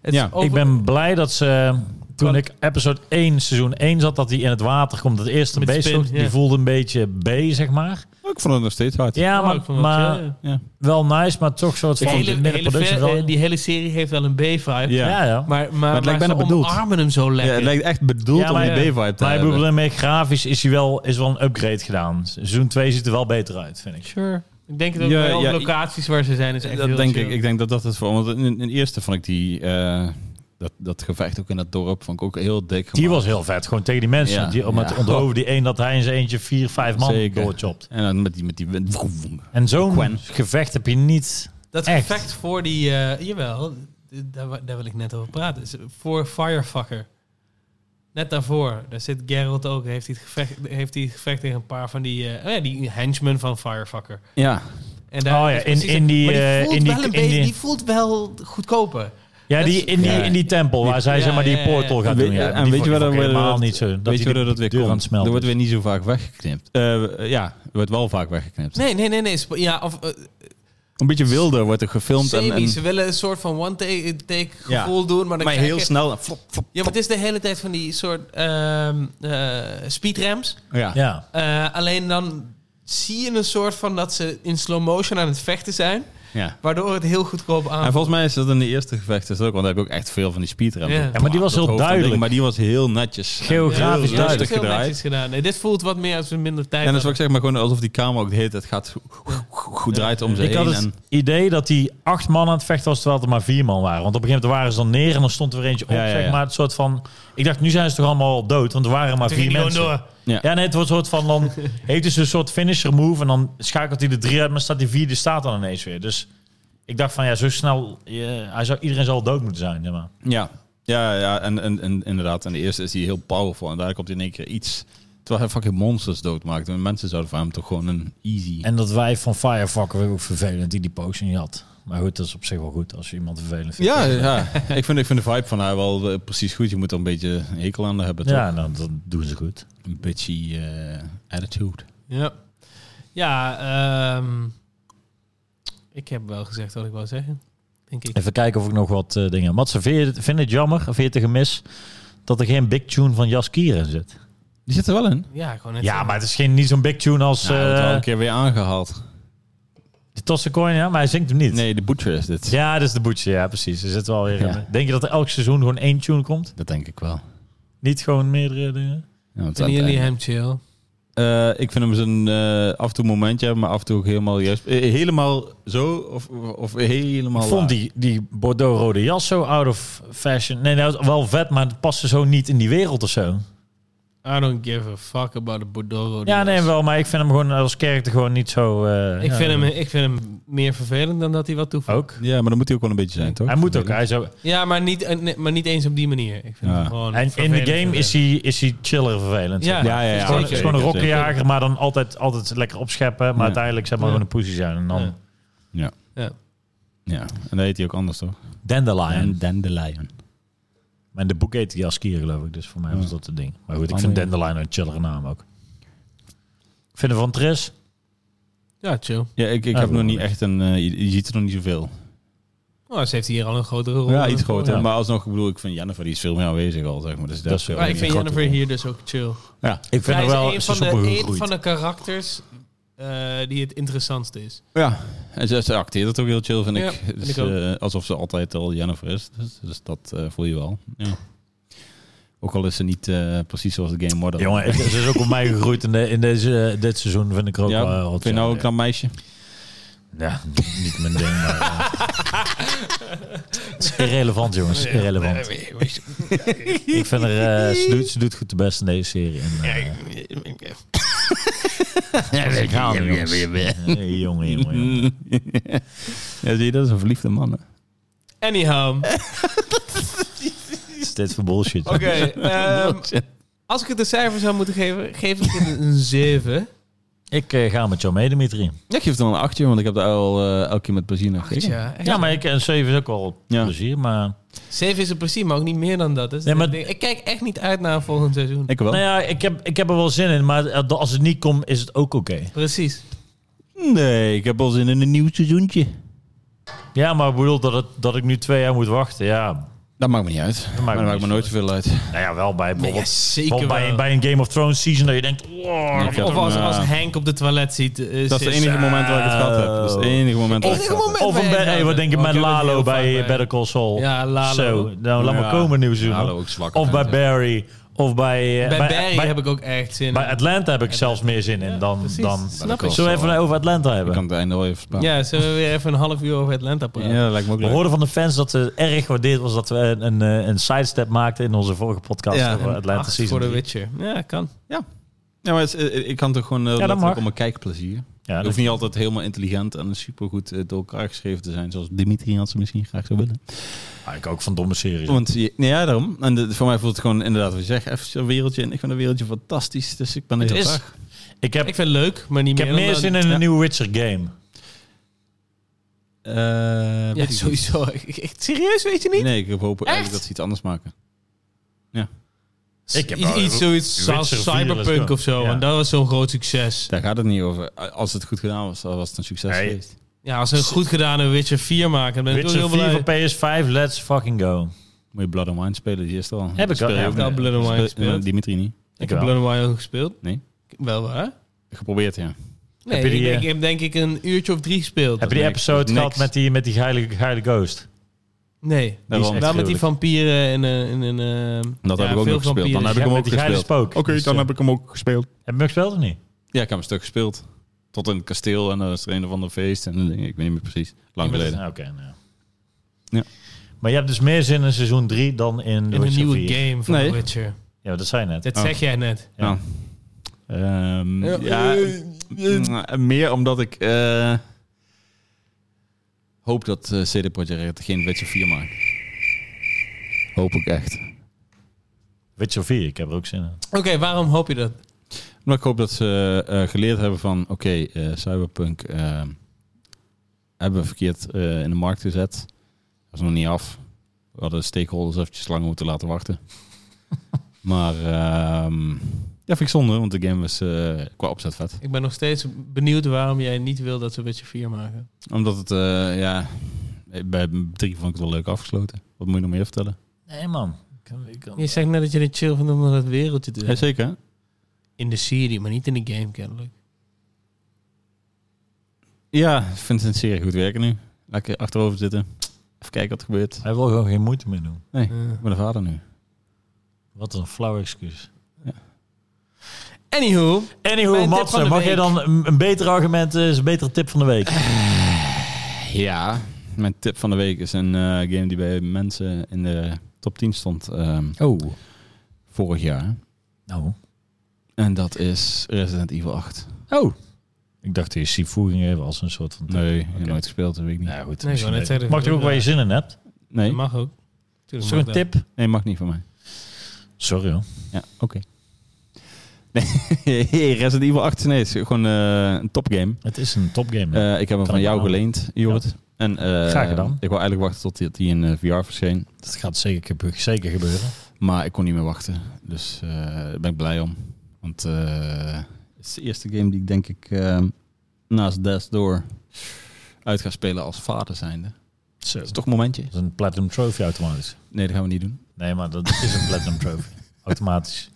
Het is Ja, ik over- Ik ben blij dat ze, eh, toen Kan- ik episode 1, seizoen 1 zat, dat hij in het water komt. Dat eerste Met beest, spin, ook, die ja. voelde een beetje B, zeg maar. Ik vond het nog steeds hard. Ja, Oh, ik maar, vond dat maar chill, ja. ja. wel nice, maar toch soort De van hele, in de hele productie ver- wel- eh, die hele serie heeft wel een B-vibe. Ja. ja, ja. Maar, Maar, maar, het lijkt maar bijna ze bedoeld. omarmen hem zo Ja, lekker. het lijkt echt bedoeld Ja, maar- om die B-vibe te ik hebben. bedoel, meer grafisch is, hij wel, is wel een upgrade gedaan. Seizoen 2 ziet er wel beter uit, vind ik. Sure. Ik denk dat ook Ja, wel op ja, locaties waar ze zijn is echt heel dat denk chill. ik. Ik denk dat dat het voor... Want in, in de eerste vond ik die... eh, dat, dat gevecht ook in dat dorp vond ik ook heel dik Die gemaakt. was heel vet, gewoon tegen die mensen. Ja, die, om het ja. te onthoven die één dat hij in zijn eentje vier, vijf man Zeker. doorchopt. En dan met die... Met die wind- vroom, vroom. En zo'n Gwen. gevecht heb je niet... dat echt. effect voor die... eh, jawel, d- daar, wa- daar wil ik net over praten. Is Voor Firefucker. Net daarvoor. Daar zit Geralt ook. Heeft hij het gevecht, heeft hij het gevecht tegen een paar van die... eh, oh ja, die henchmen van Firefucker. Ja. En daar Oh ja, is in- precies- in die, maar eh, voelt in die- wel een in beetje- die- die voelt wel goedkoper. Ja, Dat die, is- in, die, Ja. in die tempel waar zij Ja, zeg maar die ja, ja, ja. portal gaat Weet- doen. Ja, en Die weet vond- je waar die vond dat- ik helemaal dat- niet zo. Dat Weet je die hoe dat, dat weer deur aan het komt? smelten Er wordt is. weer niet zo vaak weggeknipt. Eh, ja, er wordt wel vaak weggeknipt. Nee, nee, nee. nee. sp- Ja, of... eh, Een beetje wilder wordt er gefilmd. En, semi. en, Ze willen een soort van one-take take Ja. gevoel doen. Maar, dan maar krijg heel je- snel. en flop, flop. Ja, maar het is de hele tijd van die soort ehm eh, speedrams. Ja. Ja. Eh, alleen dan zie je een soort van dat ze in slow motion aan het vechten zijn. ja. Waardoor het heel goedkoop aan. En volgens mij is dat in de eerste gevecht is dat ook, want daar heb ik ook echt veel van die speedrunnen. Ja. Ja, Bam, maar die was dat heel hoofd en ding, duidelijk. Maar die was heel netjes. Geografisch Heel duidelijk. rustig heel gedraaid. netjes gedaan. Nee, dit voelt wat meer als we minder tijd En dat is wat hadden. ik zeg, maar gewoon alsof die kamer ook de hele tijd gaat goed draait om ze Ik heen. had het en, idee dat die acht man aan het vechten was, terwijl het er maar vier man waren. Want op een gegeven moment waren ze dan neer en dan stond er weer eentje op, Ja, ja, ja. zeg maar. Het soort van... Ik dacht, nu zijn ze toch allemaal al dood, want er waren maar Toen vier ging die mensen. gewoon ja. Ja, nee, het wordt een soort van... Dan heeft dus een soort finisher move en dan schakelt hij de drie uit, maar staat die vierde staat dan ineens weer. Dus ik dacht van, ja, zo snel... eh, hij zou, iedereen zal dood moeten zijn, zeg maar. ja. ja, ja, en, en, en inderdaad. En de eerste is die heel powerful. En daar komt in één keer iets. Terwijl hij fucking monsters doodmaakt. En mensen zouden van hem toch gewoon een easy. En dat wij van Firefucker ook vervelend die die potion niet had. Maar goed, dat is op zich wel goed als je iemand vervelend vindt. Ja, ja. ik, vind, ik vind de vibe van haar wel eh, precies goed. Je moet er een beetje een hekel aan hebben. Toch? Ja, nou, dat doen ze goed. Een bitchy eh, attitude. Ja, ja ehm, ik heb wel gezegd wat ik wou zeggen. Denk ik. Even kijken of ik nog wat eh, dingen... Mats, vind je, het- vind je het jammer, vind je het een gemis... dat er geen big tune van Jaskier in zit? Die zit er wel in. Ja, gewoon net Ja, zo. maar het is geen, niet zo'n big tune als... Nou, dat wordt wel eh, een keer weer aangehaald. Toss the coin, ja, maar hij zingt hem niet. Nee, de Butcher is dit. Ja, dat is de boetje. Ja, precies. Er zit wel weer in. Ja. Denk je dat er elk seizoen gewoon één tune komt? Dat denk ik wel. Niet gewoon meerdere dingen? Ja, want aan Vinden het jullie einde- hem chill? Eh, ik vind hem zijn eh, af en toe momentje, maar af en toe ook helemaal juist. eh, helemaal zo of, of helemaal. Ik vond laag. die, die Bordeaux-rode jas zo out of fashion. Nee, nou, wel vet, maar het paste zo niet in die wereld of zo. I don't give a fuck about the Bordeaux. Ja, nee, wel, maar ik vind hem gewoon als karakter gewoon niet zo... eh, Ik, ja. vind hem, ik vind hem meer vervelend dan dat hij wat toevoegt. Ook? Ja, maar dan moet hij ook wel een beetje zijn, toch? Hij moet ook. Hij zo, Ja, maar niet, eh, nee, maar niet eens op die manier. Ik vind Ja. hem gewoon en in de vervelend game is hij, is hij chiller vervelend. Ja, zeg maar. Ja, ja, ja. Het is gewoon, het is gewoon een Zeker, zeker. rokkenjager, maar dan altijd, altijd lekker opscheppen. Maar Ja. uiteindelijk zeg maar Ja. gewoon een poesie zijn. En dan Ja. Ja, en dan heet hij ook anders, toch? Dandelion. En Dandelion. Maar de boek heet Jaskier, geloof ik. Dus voor mij was Ja. dat het ding. Maar goed, ik Andere- vind Dandelion een chillere naam ook. Ik vind hem van Tris. Ja, chill. Ja, ik, ik Ah, heb nog wel niet een echt een... eh, je, je ziet er nog niet zoveel. Nou, ze heeft hier al een grotere rol. Ja, iets groter. Ja. Maar alsnog, ik bedoel, ik vind Jennifer, die is veel meer aanwezig al, zeg maar. Dus dat Dat is is- veel Maar ik meer vind een Jennifer grote hier dus ook chill. rol. Ja, Ik vind Zij hem is wel een is van, de, een opgegroeid. van de karakters eh, die het interessantste is. ja. En ze, ze acteert het ook heel chill, vind Ja, ik. vind Dus, ik ook. eh, alsof ze altijd al Jennifer is. Dus, dus dat eh, voel je wel. Ja. Ook al is ze niet eh, precies zoals de game model. Jongen, ik, ze is ook op mij gegroeid in, de, in deze, eh, dit seizoen, vind ik er ook ja, wel eh, wat vind je nou van. een knap meisje? Ja, niet mijn ding, maar... eh, het is irrelevant, jongens. Irrelevant. Ik vind er... eh, ze, doet, ze doet goed de best in deze serie. En, eh, dat is gaande, jongens. Eh, jongen, jongen, jongen. ja, zie je, dat is een verliefde man. Hè? Anyhow, Wat is dit voor bullshit? oké. ehm, als ik het een cijfer zou moeten geven, geef ik het een 7. Ik eh, ga met jou mee, Dimitri. Ja, ik geef dan een achtje, want ik heb daar al eh, elke keer met plezier naar gekeken. Ja, echt. Ja, maar ik, Oh. en 7 is ook wel Ja. plezier, maar... 7 is een plezier, maar ook niet meer dan dat. Dat is Nee, het maar- ding. Ik kijk echt niet uit naar een volgend seizoen. Ik wel. Nou ja, ik heb, ik heb er wel zin in, maar eh, als het niet komt, is het ook oké. Precies. Nee, ik heb al zin in een nieuw seizoentje. Ja, maar ik bedoel dat, het, dat ik nu twee jaar moet wachten, ja. Dat maakt me niet uit. Dat maakt maakt, me me niet nooit zoveel uit. Nou ja, wel bij Ja, bijvoorbeeld... zeker bijvoorbeeld bij, wel. bij een Game of Thrones season dat je denkt... wow, Nee, ik heb Of als, hem, eh, als Henk op de toilet ziet. eh, Dat is het zit- enige moment dat ik het gehad heb. Dat is het enige moment dat ik Enige het gehad heb. moment Of een waar bed, je hey, gaat. wat denk je Oh, ik met heb het heel Lalo vaak bij Better Call Saul? Ja, Lalo. Zo, nou laat Ja. maar komen nieuws doen. Lalo ook zwak, Of bij hè. Barry. Of bij... eh, Bij Barry bij, heb ik ook echt zin in. bij Atlanta heb ik zelfs meer zin in dan... precies. dan Snap ik. Zullen we even over Atlanta Ik hebben? kan het einde wel even sparen. Ja, zullen we weer even een half uur over Atlanta praten? Ja, dat lijkt me ook We leuk. hoorden van de fans dat het erg gewaardeerd was dat we een, een, eh, een sidestep maakten in onze vorige podcast Ja, over een Atlanta Acht Season voor 3. de Witcher. Ja, kan. Ja, maar het is- eh, ik kan toch gewoon eh, dat letterlijk mag. om mijn kijkplezier. Ja, Het dat- hoeft niet altijd helemaal intelligent en supergoed eh, door elkaar geschreven te zijn. Zoals Dimitri had ze misschien graag zou willen. Ah, ik ook van domme series. Want je- nee, ja, daarom. En de- voor mij voelt het gewoon inderdaad, wat je zegt, even zo'n wereldje. En ik vind dat wereldje fantastisch. Dus ik ben er Het heel is- graag. Ik heb, Ik vind het leuk, maar niet ik heb meer dan meer dat. zin in een Ja. nieuwe Witcher game. Eh, Ja, weet ik niet. sowieso. Ik- ik- serieus, weet je niet? Nee, ik hoop eigenlijk Echt? dat ze iets anders maken. Ik heb iets, wel- iets zoiets Witcher zoals 4 is Cyberpunk wel- of zo. ja. Want dat was zo'n groot succes. Daar gaat het niet over. Als het goed gedaan was, dan was het een succes Nee. geweest. Ja, als ze een goed gedaan een Witcher 4 maken, dan ben ik ook Witcher heel 4 blij. voor PS5, let's fucking go. Moet je Blood and Wine spelen, die is er al. Heb ik Speel al, je ja, ook ik heb niet. al Blood and Wine Speel- gespeeld. eh, Dimitri niet. Ik wel. heb Blood and Wire gespeeld. Nee. Wel waar? Geprobeerd, ja. Nee, je die, ik, denk- eh, ik heb denk ik een uurtje of drie gespeeld. Heb je die niks. Dat episode is gehad niks. met die, met die geile, geile ghost? Nee. Die is Daarom. echt Wel met die gruwelijk. vampieren en eh, en, en, eh, Dat ja, heb ik ook veel nog gespeeld. Dan vampieren. heb ik hem Met ook die geile gespeeld. spook. Dus, eh, ik hem ook gespeeld. Heb je hem gespeeld of niet? Ja, ik heb hem een stuk gespeeld. Tot in het kasteel en dan is er een of ander feest. En dan denk ik, ik weet niet meer precies. Lang geleden. Ah, Oké, nou. Ja. Maar je hebt dus meer zin in seizoen 3 dan in, In de een Witcher nieuwe 4. game van Nee. The Witcher. Ja, dat zei je net. Dat Oh. zeg jij net. Ja. Ja. Ehm, Ja, ja, mm, meer omdat ik eh, hoop dat eh, CD Projekt Red geen Witcher 4 maakt. Hoop ik echt. Witcher 4, ik heb er ook zin in. Oké, waarom hoop je dat? Maar ik hoop dat ze eh, geleerd hebben van, oké, eh, Cyberpunk eh, hebben we verkeerd eh, in de markt gezet. Dat is nog niet af. We hadden stakeholders eventjes lang moeten laten wachten. maar ehm ja, vind ik zonde, want de game was eh, qua opzet vet. Ik ben nog steeds benieuwd waarom jij niet wil dat ze Witcher 4 maken. Omdat het, eh, ja, bij drie vond ik het wel leuk afgesloten. Wat moet je nog meer vertellen? Nee man. Ik kan- ik kan- Je zegt net dat je het chill vindt om naar dat wereldje te Ja, doen. zeker. In de serie, maar niet in de game kennelijk. Ja, ik vind het een serie goed werken nu. Lekker achterover zitten. Even kijken wat er gebeurt. Hij wil gewoon geen moeite meer doen. Eh. Ik ben de vader nu. Wat een flauw excuus. Anywho, Mijn Anywho, tip van Matze, de mag week. jij Eh. dan een, een beter argument, eh, is een betere tip van de week? Ja, mijn tip van de week is een eh, game die bij mensen in de top 10 stond ehm, Oh. vorig jaar. Nou. En dat is Resident Evil 8. Oh. Ik dacht dat je Sifu ging geven als een soort van... tip. Nee, ik heb Oké. nooit gespeeld, dat weet ik niet. Nou goed. Nee, misschien ik wou net niet. zeggen, Mag je ook dat- waar je zin in hebt. Nee, dat mag ook. Is Tuurlijk er mag een dat. tip? nee mag niet van mij. Sorry hoor. Ja, oké. Nee, Resident Evil 8 nee, is gewoon eh, een topgame. Het is een topgame. Eh, ik heb hem Kan van ik jou wel. geleend, Jorrit. En, eh, Graag gedaan. Ik wou eigenlijk wachten tot die- dat hij in eh, VR verscheen. dat gaat zeker, gebe- zeker gebeuren. Maar ik kon niet meer wachten. Dus eh, daar ben ik blij om. Want eh, het is de eerste game die ik denk ik eh, naast Death Door uit ga spelen als vader zijnde. Dat Zo. is toch een momentje? Dat is een Platinum Trophy automatisch. Nee, dat gaan we niet doen. Nee, maar dat is een Platinum Trophy. Automatisch.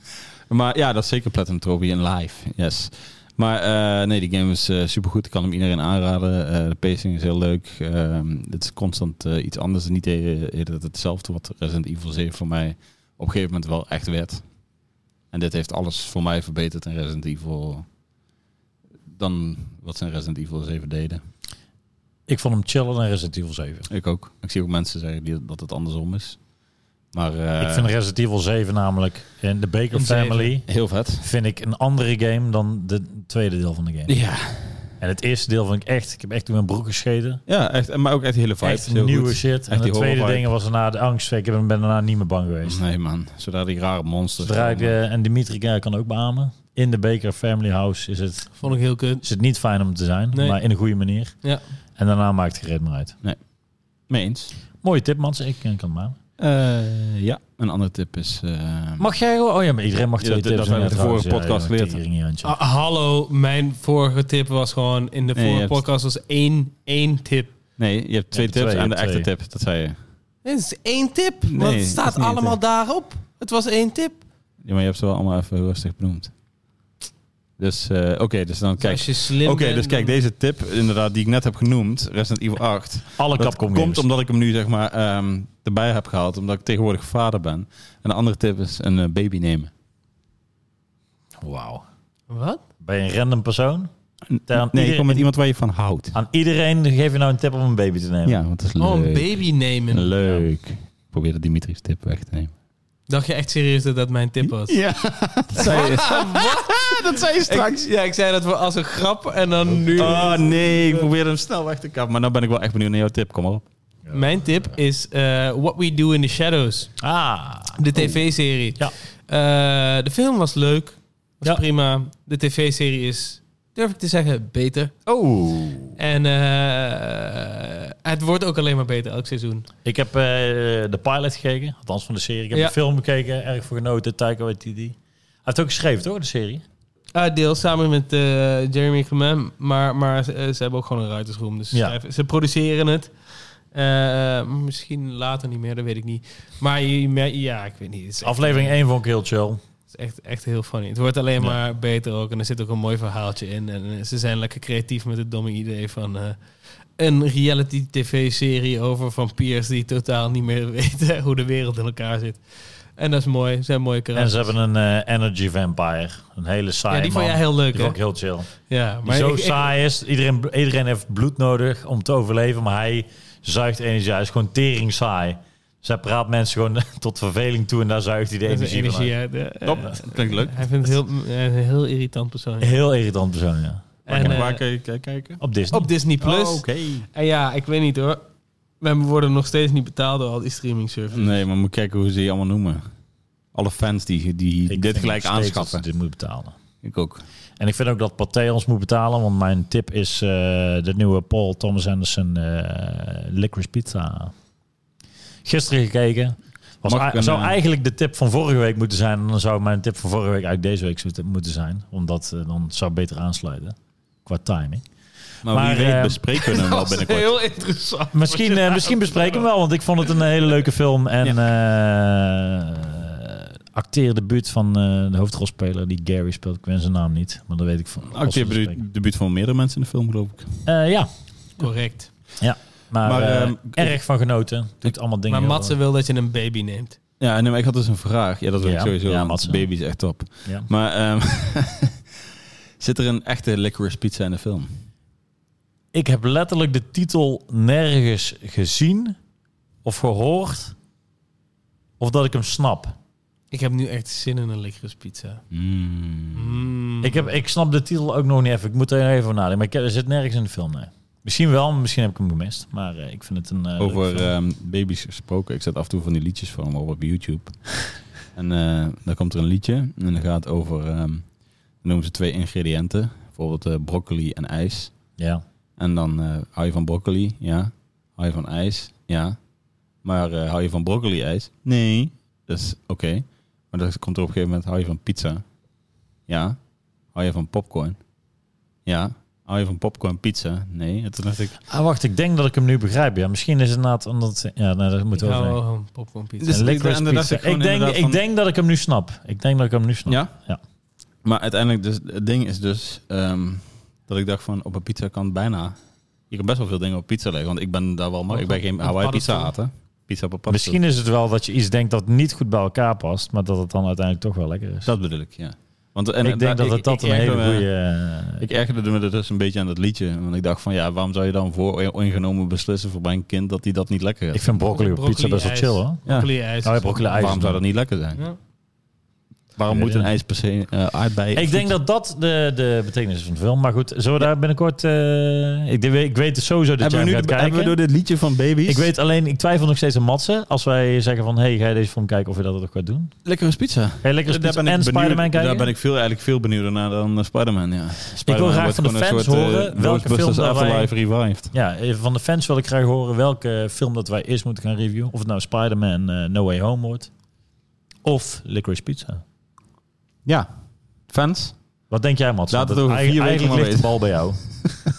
Maar ja, dat is zeker Platinum Trophy in live. Yes. Maar eh, nee, die game is eh, supergoed. Ik kan hem iedereen aanraden. Eh, de pacing is heel leuk. Ehm, het is constant eh, iets anders. Niet eh, eh, dat hetzelfde wat Resident Evil 7 voor mij op een gegeven moment wel echt werd. En dit heeft alles voor mij verbeterd in Resident Evil. Dan wat ze in Resident Evil 7 deden. Ik vond hem chiller dan Resident Evil 7. Ik ook. Ik zie ook mensen zeggen die, dat het andersom is. Maar eh, ik vind Resident Evil 7 namelijk in de Baker Een zeven. Family heel vet. vind ik een andere game dan de tweede deel van de game. Ja, En het eerste deel vond ik echt, ik heb echt door mijn broek gescheten. ja echt, en- maar ook echt de hele vibe. echt Heel nieuwe goed. shit. En Echt de die Mhm. tweede horror vibe. ding was daarna de angst. Ik ben ben daarna niet meer bang geweest. Nee man, zodra die rare monsters... Zodra ik, komen. eh, en Dimitri eh, kan ook beamen. In de Baker Family House is het, Vond ik heel kut. is het niet fijn om te zijn, Nee. maar in een goede manier. Ja. En daarna maakt het gereed maar uit. Mee eens. Mooie tip, Mans. Ik eh, kan het maken. Eh, ja, een andere tip is... eh, Mag jij gewoon? Oh ja, maar iedereen mag Ja, twee dat- tips. dat hebben we de doen, ja, vorige trouwens. podcast Ja, joh, geleerd. teringhiertje. Ah, hallo, mijn vorige tip was gewoon... In Nee, de vorige je hebt- podcast was één, één tip. nee, je hebt twee Ja, tips twee, en de ja, echte twee. tip. Dat zei je. Dit is één tip. Nee, Wat het is staat niet één allemaal tip. daarop? Het was één tip. Ja, maar je hebt ze wel allemaal even heel rustig benoemd. Dus eh, oké, dus dan Dus kijk... Als je slim Oké, bent, dus kijk, dan- deze tip inderdaad die ik net heb genoemd, Resident Evil 8. Alle Dat Capcom games. komt omdat ik hem nu zeg maar ehm, erbij heb gehaald, omdat ik tegenwoordig vader ben. En de andere tip is een eh, baby nemen. Wauw. Wat? Ben je een random persoon? Terwijl nee, ieder- kom met iemand waar je van houdt. Aan iedereen geef je nou een tip om een baby te nemen. Ja, want dat is leuk. Oh, een baby nemen. Leuk. Ik probeer de Dimitri's tip weg te nemen. Dacht je echt serieus dat dat mijn tip was? Ja, dat zei je. dat zei je Ik, ja, ik zei dat we als een grap en dan nu... Oh nee, ik probeerde hem snel weg te kappen. Maar nou ben ik wel echt benieuwd naar jouw tip. Kom maar op. Mijn tip is eh, What We Do in the Shadows. Ah. Oh. De tv-serie. Ja. Eh, de film was leuk. Was Ja. prima. De tv-serie is, durf ik te zeggen, beter. Oh. En eh, het wordt ook alleen maar beter elk seizoen. Ik heb eh, de pilot gekeken, althans van de serie. Ik heb Ja. de film gekeken, erg voor genoten. Taika Waititi. Hij heeft ook geschreven, toch, de serie? Ah, deels samen met eh, Jeremy Clement. Maar, maar ze, eh, ze hebben ook gewoon een writersroom. Dus Ja. schrijven- ze produceren het. Eh, misschien later niet meer, dat weet ik niet. Maar je- je mer- ja, ik weet niet. Het is echt- Aflevering 1 vond ik heel chill. Het is echt, echt heel funny. Het wordt alleen Ja. maar beter ook. En er zit ook een mooi verhaaltje in. En eh, ze zijn lekker creatief met het domme idee van... eh, een reality tv-serie over vampiers die totaal niet meer weten hoe de wereld in elkaar zit. En dat is mooi. Zijn mooie En karakters. ze hebben een eh, energy vampire. Een hele saaie Ja, die vond jij man. heel leuk, Die hè? vond ik heel chill. Ja, Die zo ik- ik- saai is. Iedereen, iedereen heeft bloed nodig om te overleven, maar hij zuigt energie. Hij is gewoon tering saai. Dus hij praat mensen gewoon tot verveling toe en daar zuigt hij de dat is energie, van. uit. uit, hè? Top. Eh, Klinkt leuk. Hij vindt het heel, hij is een heel irritant persoon. Heel irritant persoon, ja. Waar En, kan- eh, waar kan je k- kijken? Op Disney. op Disney+. Plus. Oh, oké. En ja, ik weet niet hoor. We worden nog steeds niet betaald door al die streaming services. Nee, maar moet kijken hoe ze je allemaal noemen. Alle fans die, die Ik dit vind gelijk nog steeds dat aanschaffen. ze Dit moet betalen. Ik ook. En ik vind ook dat Pathé ons moet betalen, want mijn tip is eh, de nieuwe Paul Thomas Anderson eh Licorice Pizza. Gisteren gekeken. Was Mag ei- ik een, zou eh, eigenlijk de tip van vorige week moeten zijn. En dan zou mijn tip van vorige week eigenlijk deze week zo- moeten zijn. Omdat eh, dan zou het beter aansluiten. Qua timing. Maar, Maar, wie weet eh, bespreken we hem wel Dat is binnenkort. heel interessant. Misschien, eh, misschien bespreken we hem wel, want ik vond het een hele leuke film. En eh, acteerdebuut van eh, de hoofdrolspeler die Gary speelt. Ik ken zijn naam niet, maar dat weet ik van. als we het spreken. Acteerdebuut debuut van meerdere mensen in de film, geloof ik. Eh, ja, Correct. maar, Maar, eh, ehm, erg van genoten. Doet allemaal dingen. Maar heel- Matze wil dat je een baby neemt. Ja, en nee, maar ik had dus een vraag. Ja, dat weet Ja. ik sowieso. Ja, Ja, Mats, ja. baby is echt top. Ja. Maar ehm, zit er een echte licorice pizza in de film? Ik heb letterlijk de titel nergens gezien of gehoord of dat ik hem snap. Mm. Ik heb nu echt zin in een lekkere pizza. Mm. Ik, heb, ik snap de titel ook nog niet even. Ik moet er even over nadenken. Maar ik, er zit nergens in de film, nee. Misschien wel, maar misschien heb ik hem gemist. Maar eh, ik vind het een... eh, leuke Over film. ehm, baby's gesproken. Ik zet af en toe van die liedjes van hem op op YouTube. en eh, dan komt er een liedje. En dat gaat over... ehm, dan noemen ze twee ingrediënten. Bijvoorbeeld eh, broccoli en ijs. ja. En dan eh, hou je van broccoli, ja. Hou je van ijs, ja. Maar eh, hou je van broccoli-ijs? Nee. Dus oké. Maar dan komt er op een gegeven moment, hou je van pizza? Ja. Hou je van popcorn? Ja. Hou je van popcorn pizza? Nee. En toen dacht ik, Ah, wacht. Ik denk dat ik hem nu begrijp. Ja, misschien is het inderdaad omdat... Ja, nee, dat Ik moeten we hou overleggen. wel van popcorn pizza. Dus- Een licorice en dan dacht pizza. ik gewoon Ik, denk, inderdaad ik van- denk dat ik hem nu snap. Ik denk dat ik hem nu snap. ja? Ja. Maar uiteindelijk, dus, het ding is dus ehm, dat ik dacht van, op een pizza kan bijna... Je kan best wel veel dingen op pizza leggen, want ik ben daar wel... Maar ik ben geen Hawaii pizza paddenstoel. aten. Pizza op een paddenstoel. Misschien is het wel dat je iets denkt dat niet goed bij elkaar past, maar dat het dan uiteindelijk toch wel lekker is. Dat bedoel ik, ja. Want, en, ik denk dat het dat ik een hele ergerde me- goede. Ik ergerde me er dus een beetje aan dat liedje. Want ik dacht van, ja, waarom zou je dan voor ingenomen beslissen voor mijn kind dat hij dat niet lekker ik is? vind broccoli op Broccoli pizza best wel ijs. chill hoor. Ja. Broccoli ijs. Oh, ja, broccoli ijs. Waarom zou dat niet lekker zijn? Ja. Waarom Ja, moet een ja. ijs per se eh aardbei? Ik denk dat dat de, de betekenis is van de film. Maar goed, zullen we daar binnenkort... eh, ik, denk- ik weet het sowieso dat hebben we, nu jij hem gaat de- hebben kijken. we door dit liedje van baby's? ik weet alleen, ik twijfel nog steeds aan Matsen. Als wij zeggen van, hey, ga je deze film kijken of je dat ook gaat doen? lekker is pizza. Ga je lekker eens pizza en Spider-Man kijken? Daar ben ik veel, eigenlijk veel benieuwder naar dan eh, Spider-Man. Ja. Spider-Man graag wordt van de gewoon een fans soort, eh, horen welke Ghostbusters film dat wij- Afterlife Revived. Ja, even van de fans wil ik graag horen welke film dat wij eerst moeten gaan reviewen. Of het nou Spider-Man eh, No Way Home wordt. Of Licorice Pizza. Ja, fans. Wat denk jij, Mats? Laat Want het over vier eigenlijk- weken maar Eigenlijk ligt de bal bij jou.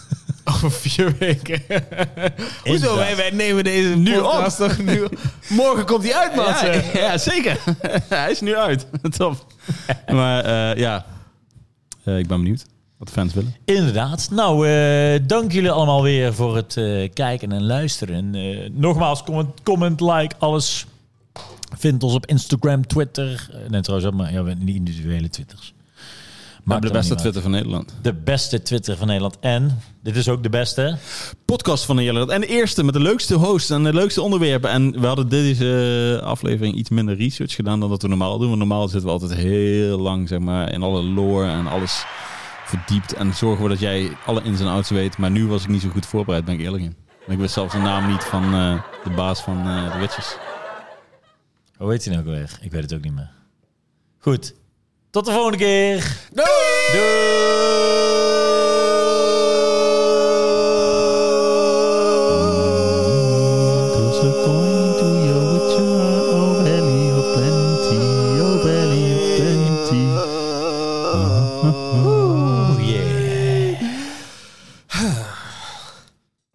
Over vier weken. Hoezo? Inderdaad. Wij, wij nemen deze Nu op. podcast toch nu op? Morgen komt die uit, maat. Ja, ja, zeker. Hij is nu uit. Top. maar eh, ja, Eh, ik ben benieuwd wat de fans willen. Inderdaad. Nou, eh, dank jullie allemaal weer voor het eh, kijken en luisteren. En, eh, nogmaals, comment, comment, like, alles. Vind ons op Instagram, Twitter. Eh, Nee, trouwens, ook maar ja, we hebben die individuele Twitters. Maar Maakt de dan beste niet uit. Twitter van Nederland. De beste Twitter van Nederland. En, dit is ook de beste. Podcast van Nederland. En de eerste met de leukste hosts en de leukste onderwerpen. En we hadden deze eh, aflevering iets minder research gedaan dan dat we normaal doen. Want normaal zitten we altijd heel lang zeg maar, in alle lore en alles verdiept. En zorgen we dat jij alle ins en outs weet. Maar nu was ik niet zo goed voorbereid, ben ik eerlijk in. En ik wist zelfs de naam niet van eh, de baas van eh The Witches. Hoe heet hij nou ook weer? Ik weet het ook niet meer. Goed. Tot de volgende keer. Doei!